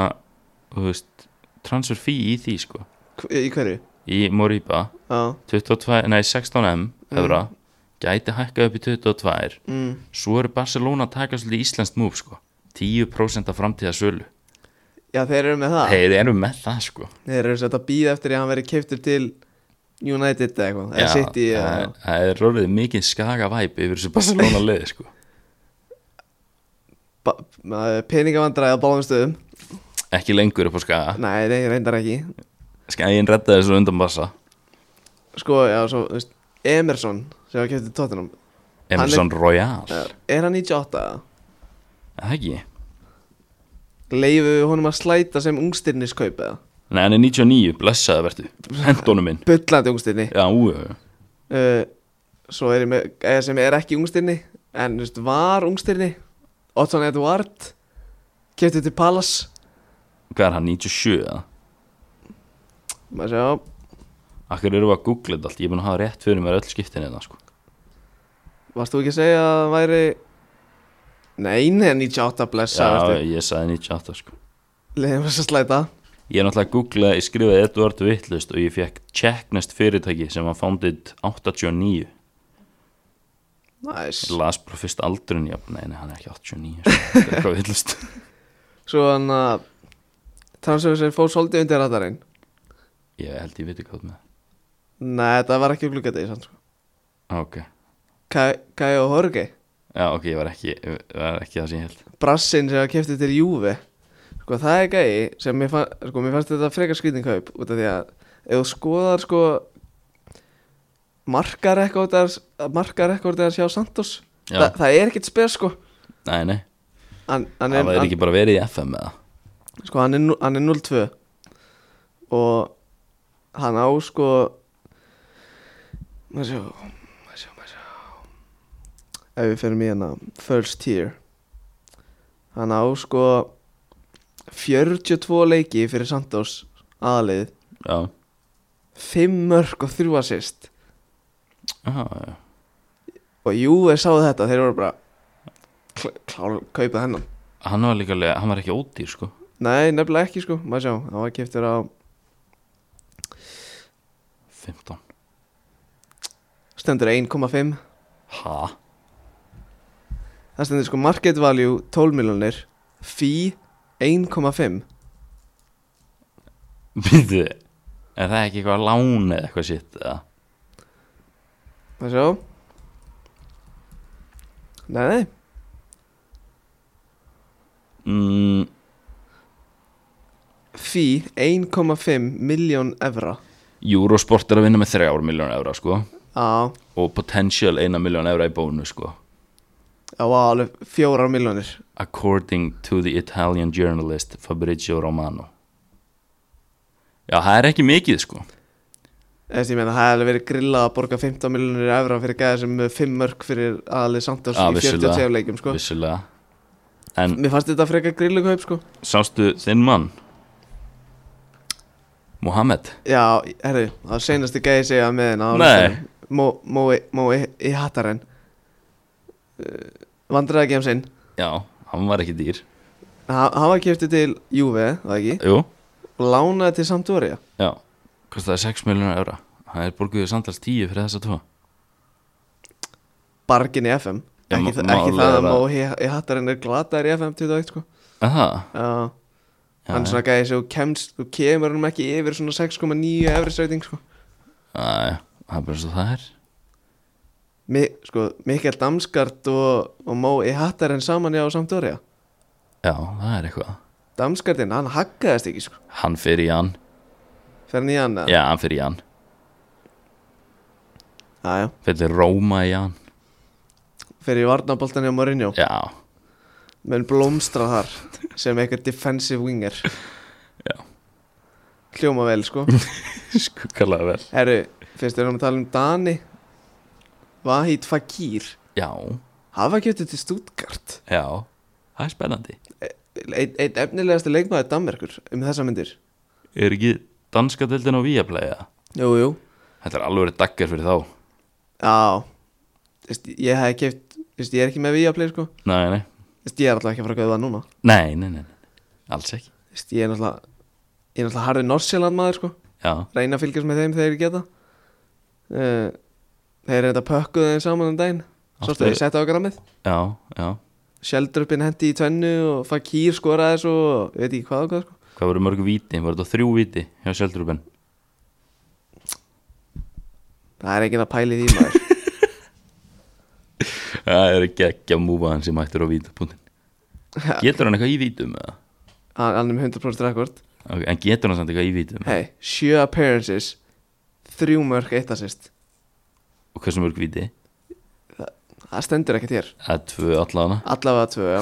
S2: þú veist transfer fee í því sko
S1: hv- í hverju?
S2: í Moriba
S1: Já,
S2: 22, nei 16M evra, gæti hækka upp í 22
S1: mm.
S2: svo eru Barcelona að taka svolítið íslenskt múf sko 10% af framtíðasölu
S1: Já, þeir eru með það
S2: þeir eru með það sko
S1: Þeir eru sett að býða eftir að hann veri keiftur til United eða eitthvað Eða
S2: Já,
S1: City eða
S2: það er- það er orðið mikið skaga væp yfir þessu Barcelona liði sko
S1: ba- ma- peningavandræði á báðum stöðum
S2: ekki lengur upp á skaga
S1: Nei, nei, reyndar ekki
S2: skagin redda þessu undan Barca
S1: Sko, já, svo, þú veist, Emerson sem var keiftur til Tottenham Hann er-
S2: Emerson Royal
S1: Eh,
S2: er
S1: Er hann 98 eða?
S2: það ekki?
S1: Leifu við honum að slæta sem ungstyrniskaup eða?
S2: Nei, hann er 99, blessaði verðu hendónum minn
S1: Bullandi ungstyrni
S2: Já, ú, ú, ú.
S1: uh, Svo er ég með, eða sem er ekki ungstyrni En, þú veist, var ungstyrni Otton Edward Keiftur til Palace
S2: hvað er hann, 97 eða?
S1: Maður sjá,
S2: Akkur eru að googla þetta allt, ég er búin að hafa rétt fyrir mér öll skiptin eða sko
S1: Varst þú ekki að segja að það væri Nei, nei, 98 blessa
S2: Já, ég sagði 98 sko
S1: Leðum við að slæta
S2: Ég er náttúrulega að googla, ég skrifaði Edvard Vittlust og ég fekk Checknest fyrirtæki sem var founded 89
S1: Næs
S2: Ég las bara fyrst aldurinn, já, nei, nei, hann er ekki 89 sko. Þetta er eitthvað Vittlust
S1: Svo hann að Transfer sem fór svolítið undir radarinn
S2: Ég held ég viti hvað með
S1: Nei, þetta var ekki gluggadegi sann sko
S2: það Ok,
S1: Kai og Jorge
S2: já, ok, ég var ekki, ég var ekki það sem ég held
S1: Brassinn sem var keftið til Júve Sko það er gæi sem mér, fann, sko, mér fannst þetta frekar skrýtingkaup út af því að ef þú skoðar sko markarekordar markarekordar hjá Santos
S2: Já.
S1: Þa, það er ekkert spes sko
S2: Nei, nei,
S1: hann, hann
S2: það væri ekki bara verið í FM eða
S1: sko hann er, nú- hann er 0-2 og hann á sko maður sjá maður sjá, maður sjá ef við fyrir mig hérna first tier hann á sko 42 leiki fyrir Santos aðlið,
S2: Já,
S1: 5 mörg og 3 assist
S2: já, já
S1: og Júve sáðu þetta, þeir voru bara klá, klá, kaupa hennan
S2: Hann var líka alveg, hann var ekki ódýr sko
S1: Nei, nefnilega ekki sko, maður sjá Það var keftur á
S2: 15
S1: stendur 1,5
S2: Ha?
S1: Það stendur sko market value 12 miljonir Fee 1,5
S2: Býðu Er það ekki eitthvað lán eða eitthvað sitt eða?
S1: Maður sjá Nei, nei,
S2: Mm,
S1: fee 1,5 miljón evra
S2: Eurosport er að vinna með 3 miljón evra sko
S1: Á,
S2: Og potential 1 miljón evra í bónu sko
S1: á alveg 4 miljónir
S2: According to the Italian journalist Fabrizio Romano Já, það er ekki mikið sko
S1: Þess ég meina, það hefði alveg verið grillað að borga 15 miljonir evra fyrir gæða sem er 5 mörg fyrir aðli Santos
S2: Já,
S1: í 42 leikum sko.
S2: vissulega En
S1: Mér fannst þetta frekar grillu kaup sko.
S2: sástu þinn mann Mohamed
S1: Já, herru, það var seinasti gæði segja með henn á
S2: Nei.
S1: listanum. Mó- Mói Mói í hattaren Vandræða ekki um sinn
S2: Já, hann var ekki dýr
S1: Ha- Hann var kjöfti til Juve, það ekki
S2: Jú,
S1: Lánaði til Sampdoria
S2: já Kostaði 6 miljonar eura Hann er borguðið samtals 10 fyrir þessa tvo
S1: Bargin í FM
S2: Já,
S1: Ekki,
S2: má-
S1: þa- ekki
S2: málið
S1: það
S2: er
S1: að
S2: að-
S1: Mói í hattaren er glataður í FM 21 sko.
S2: Aha,
S1: Já,
S2: já,
S1: Hann er svona gæði sem þú kemst Þú kemur hann ekki yfir svona 6,9 efri sæting sko.
S2: Æ, það er bara svo það er
S1: Mi, sko, Mikael Damsgaard og, og Mói í hattaren saman já á Sampdoria
S2: Já, það er eitthvað
S1: Damsgaardinn, hann haggaðist ekki sko.
S2: Hann fyrir í hann
S1: Fer hann í hann eða?
S2: Já, hann fyrir í hann
S1: Já, já
S2: Fyrir Róma í hann
S1: fyrir varnaboltan hjá Mourinho
S2: Já,
S1: menn blómstra þar sem eitthvað defensive winger
S2: Já.
S1: hljóma vel sko
S2: skuggalega vel
S1: herru, fyrst erum við að tala um Dani Vahid Fakir
S2: Já,
S1: hafa kjöttu til Stuttgart
S2: já, það er spennandi
S1: einn ein efnilegasti leikmaður Danmerkur um þessa myndir
S2: Er ekki danska deildin á Víaplega?
S1: jú, jú
S2: Þetta er alveg daggar fyrir þá
S1: já, Þvist, ég hef keft Þvist, ég er ekki með Viaplay sko
S2: Nei, nei,
S1: Þvist, ég er alltaf ekki að fara að gauða núna
S2: nei, nei, nei, nei. alls ekki
S1: Þvist, ég er náttúrulega ég er náttúrulega harði Norsjöland maður sko
S2: Já,
S1: reyna að fylgjast með þeim þegar ég geta uh, Þeir reynda pökkuðu þeim saman um daginn Svo
S2: Áttu-
S1: stöðu ég setja á grammið
S2: já, já
S1: Sheldrupin hendi í tvennu og Fakir skoraði svo og ég veit ekki hvað og hvað sko.
S2: Hvað voru mörg víti? Var þetta þrjú víti hjá Sjöldrupen?
S1: Það er enginn að pæli því maður
S2: Það er ekki ekki að múfa hann sem hættur á vítapunktin Getur hann eitthvað í vítum? eða?
S1: Hann hann er með 100% rekord
S2: Ok, En getur hann samt eitthvað í vítum?
S1: Hei, sjö appearances Þrjú mörg eitt assist
S2: Og hversu mörg víti?
S1: Það stendur ekkert hér
S2: Það er tvö allana
S1: Allavega tvö, já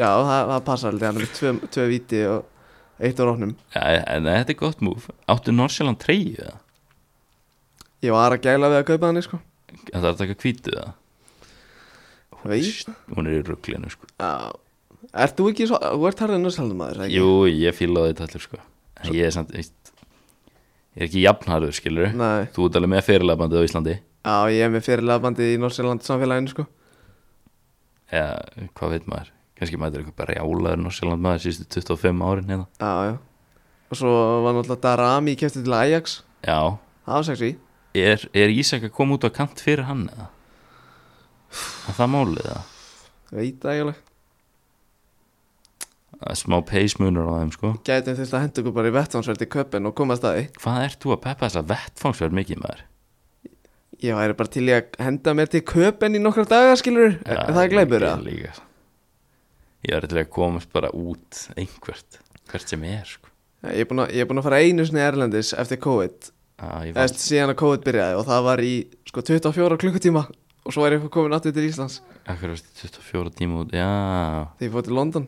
S1: Já, það, það passar aldrei Hann er með tvö, tvö viti og eitt á róknum
S2: Já, en þetta er gott múf Áttu Norsjöland treyju það?
S1: Ég var að gæla við að kaupa hann sko.
S2: Það er að taka hvítu það?
S1: Veist
S2: Hún er í rugglinu sko
S1: Já Ert þú ekki svo, þú ert harðið nörsaldum aður, ekki?
S2: Jú, ég fíla þetta allir sko En ég er samt, veist Ég er ekki jafnharður skilur
S1: Nei,
S2: Þú ert alveg með fyrirlabandið á Íslandi
S1: já, ég er með fyrirlega bandið í Norsjöland samfélaginu, sko
S2: Eða, hvað veit maður Kannski maður er eitthvað bara jálaður Norsjöland maður síðustu 25 árin hérna
S1: Já, já Og svo var náttúrulega Darami kæftið til Ajax
S2: Já,
S1: Það var sexy
S2: er, er Ísak að koma út á kant fyrir hann eða? Er það málið eða?
S1: Veit það ekki alveg
S2: Það er smá peismunur á þeim sko
S1: Gætum þurft að henda okkur bara í vettvánsverð í köpinn og komast að því
S2: Hvað ert þú að peppa þessa vettfangsverð mikið maður?
S1: Ég væri bara til í að henda mér til köpinn í nokkra daga, skilur Er er það gleipur
S2: það?
S1: það?
S2: Líka. Ég er til að komast bara út einhvert, hvert sem er sko.
S1: Ég er búinn að- ég er búin að fara einu sinni Erlendis eftir COVID
S2: að ég
S1: Eftir
S2: vant,
S1: síðan að COVID byrjaði og það var í sko 24 klukkutíma Og svo er ég komin aftur til Íslands
S2: akkur varstu 24 tíma út, já,
S1: Þegar ég fór til London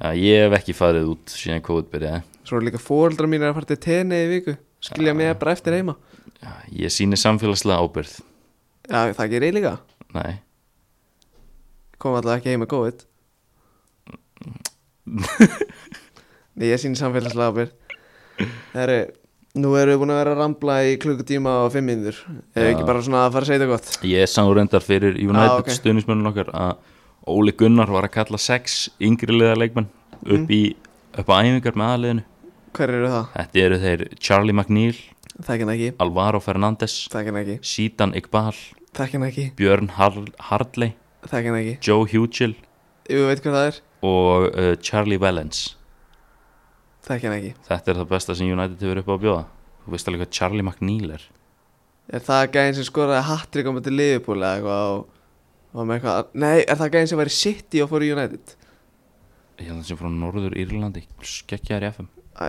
S2: já ég hef ekki farið út síðan COVID byrjaði,
S1: Svo eru líka fóreldra mín að fara til tenni í viku Skilja mig bara eftir heima
S2: já, ég síni samfélagslega ábyrð,
S1: Já, það gerir ég líka
S2: nei,
S1: Kom alltaf ekki heim með COVID Nei, ég sín samfélagslega ábyrgð Það eru Nú erum við búin að vera að rambla í klukkutíma og fimm minnur Eða
S2: Já.
S1: ekki bara svona að fara að segja þetta gott
S2: Ég sá reyndar fyrir United
S1: Ah,
S2: ah,
S1: ok.
S2: stuðnismönnum okkar að Óli Gunnar var að kalla sex yngri liða leikmenn
S1: Mm.
S2: upp í upp á æfingar með aðliðinu
S1: Hver eru það?
S2: Þetta eru þeir Charlie McNeil,
S1: Þekkin ekki
S2: Alvaro Fernandes
S1: Þekkin ekki
S2: Sítan Iqbal,
S1: Þekkin ekki
S2: Björn Har- Hardley
S1: Þekkin ekki
S2: Joe Hugill
S1: Jú, veit hvað það er
S2: og uh, Charlie Wellens
S1: Þekkin ekki
S2: Þetta er það besta sem United hefur upp á að bjóða Þú veist alveg hvað Charlie McNeil er
S1: Er það gæðin sem skoraði hattrik á mæti Liverpool eða eitthvað og, og með eitthvað Nei, er það gæðin sem var í City og fór í United?
S2: Ég held að það sem frá Norður Írlandi Skekkjaðar í FM
S1: Æ,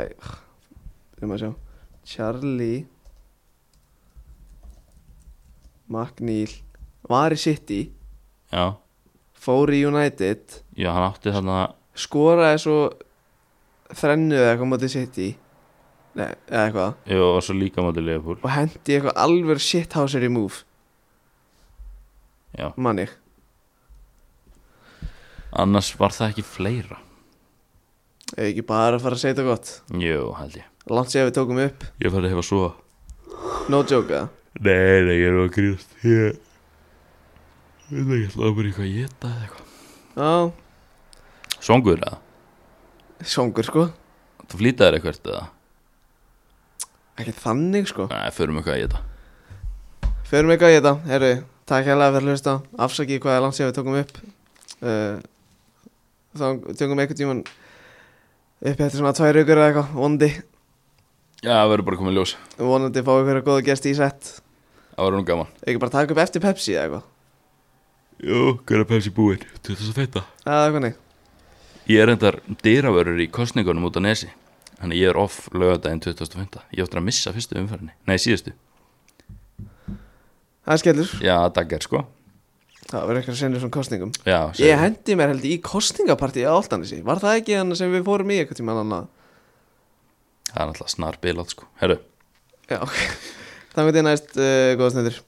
S1: um að sjá Charlie McNeil var í City
S2: Já,
S1: fór í United
S2: já hann átti þarna
S1: skoraði svo þrennu eða eitthvað mútið sitt í Nei, eða eitthvað
S2: Jú, og svo líka móti Liverpool
S1: og hendi eitthvað alveg shithouser í move
S2: Já,
S1: manni
S2: annars var það ekki fleira
S1: eða ekki bara að fara að segja þetta gott
S2: Jú, held ég
S1: langt séð við tókum upp,
S2: Ég fæði hefa svo
S1: no joke eða?
S2: Nei, nei, ég er að grínast Ég veit ekki, ég ætlaði bara eitthvað að geta eða eitthvað
S1: já,
S2: Svongur eða?
S1: sjóngur sko
S2: Þú flýtaðir eitthvað eða?
S1: ekki þannig sko
S2: Nei, förum eitthvað að geta
S1: förum eitthvað í þetta, herru, takk hérlega fyrir að hlusta afsakið hvað er langt séð við tókum upp uh, þá tökum eitthvað tíman upp eftir svona tvær aukur eða eitthvað vondi,
S2: Já, það verður bara komið ljós
S1: vonandi fá ykkur að góða gest í sett
S2: Það verður nú gaman
S1: ekki bara taka upp eftir Pepsi eða eitthvað
S2: Jú, hver er Pepsi búinn? Þú ert þess að feita
S1: eða eitthvað nei
S2: Ég er endar dýravörur í kostningunum út á nesi Þannig ég er off lögadaginn 2005 Ég áttur að missa fyrstu umferðinni Nei, síðustu
S1: Það er skellur,
S2: Já, daggar sko
S1: það verður eitthvað sinnir svona kostningum
S2: Já, segðu.
S1: Ég hendi mér heldur í kostningapartí á Altanesi Var það ekki hann sem við fórum í eitthvað tíma annað?
S2: Það er náttúrulega snar bilað sko Herru
S1: Já, ok Þannig að þetta er næst, uh, góða snöndur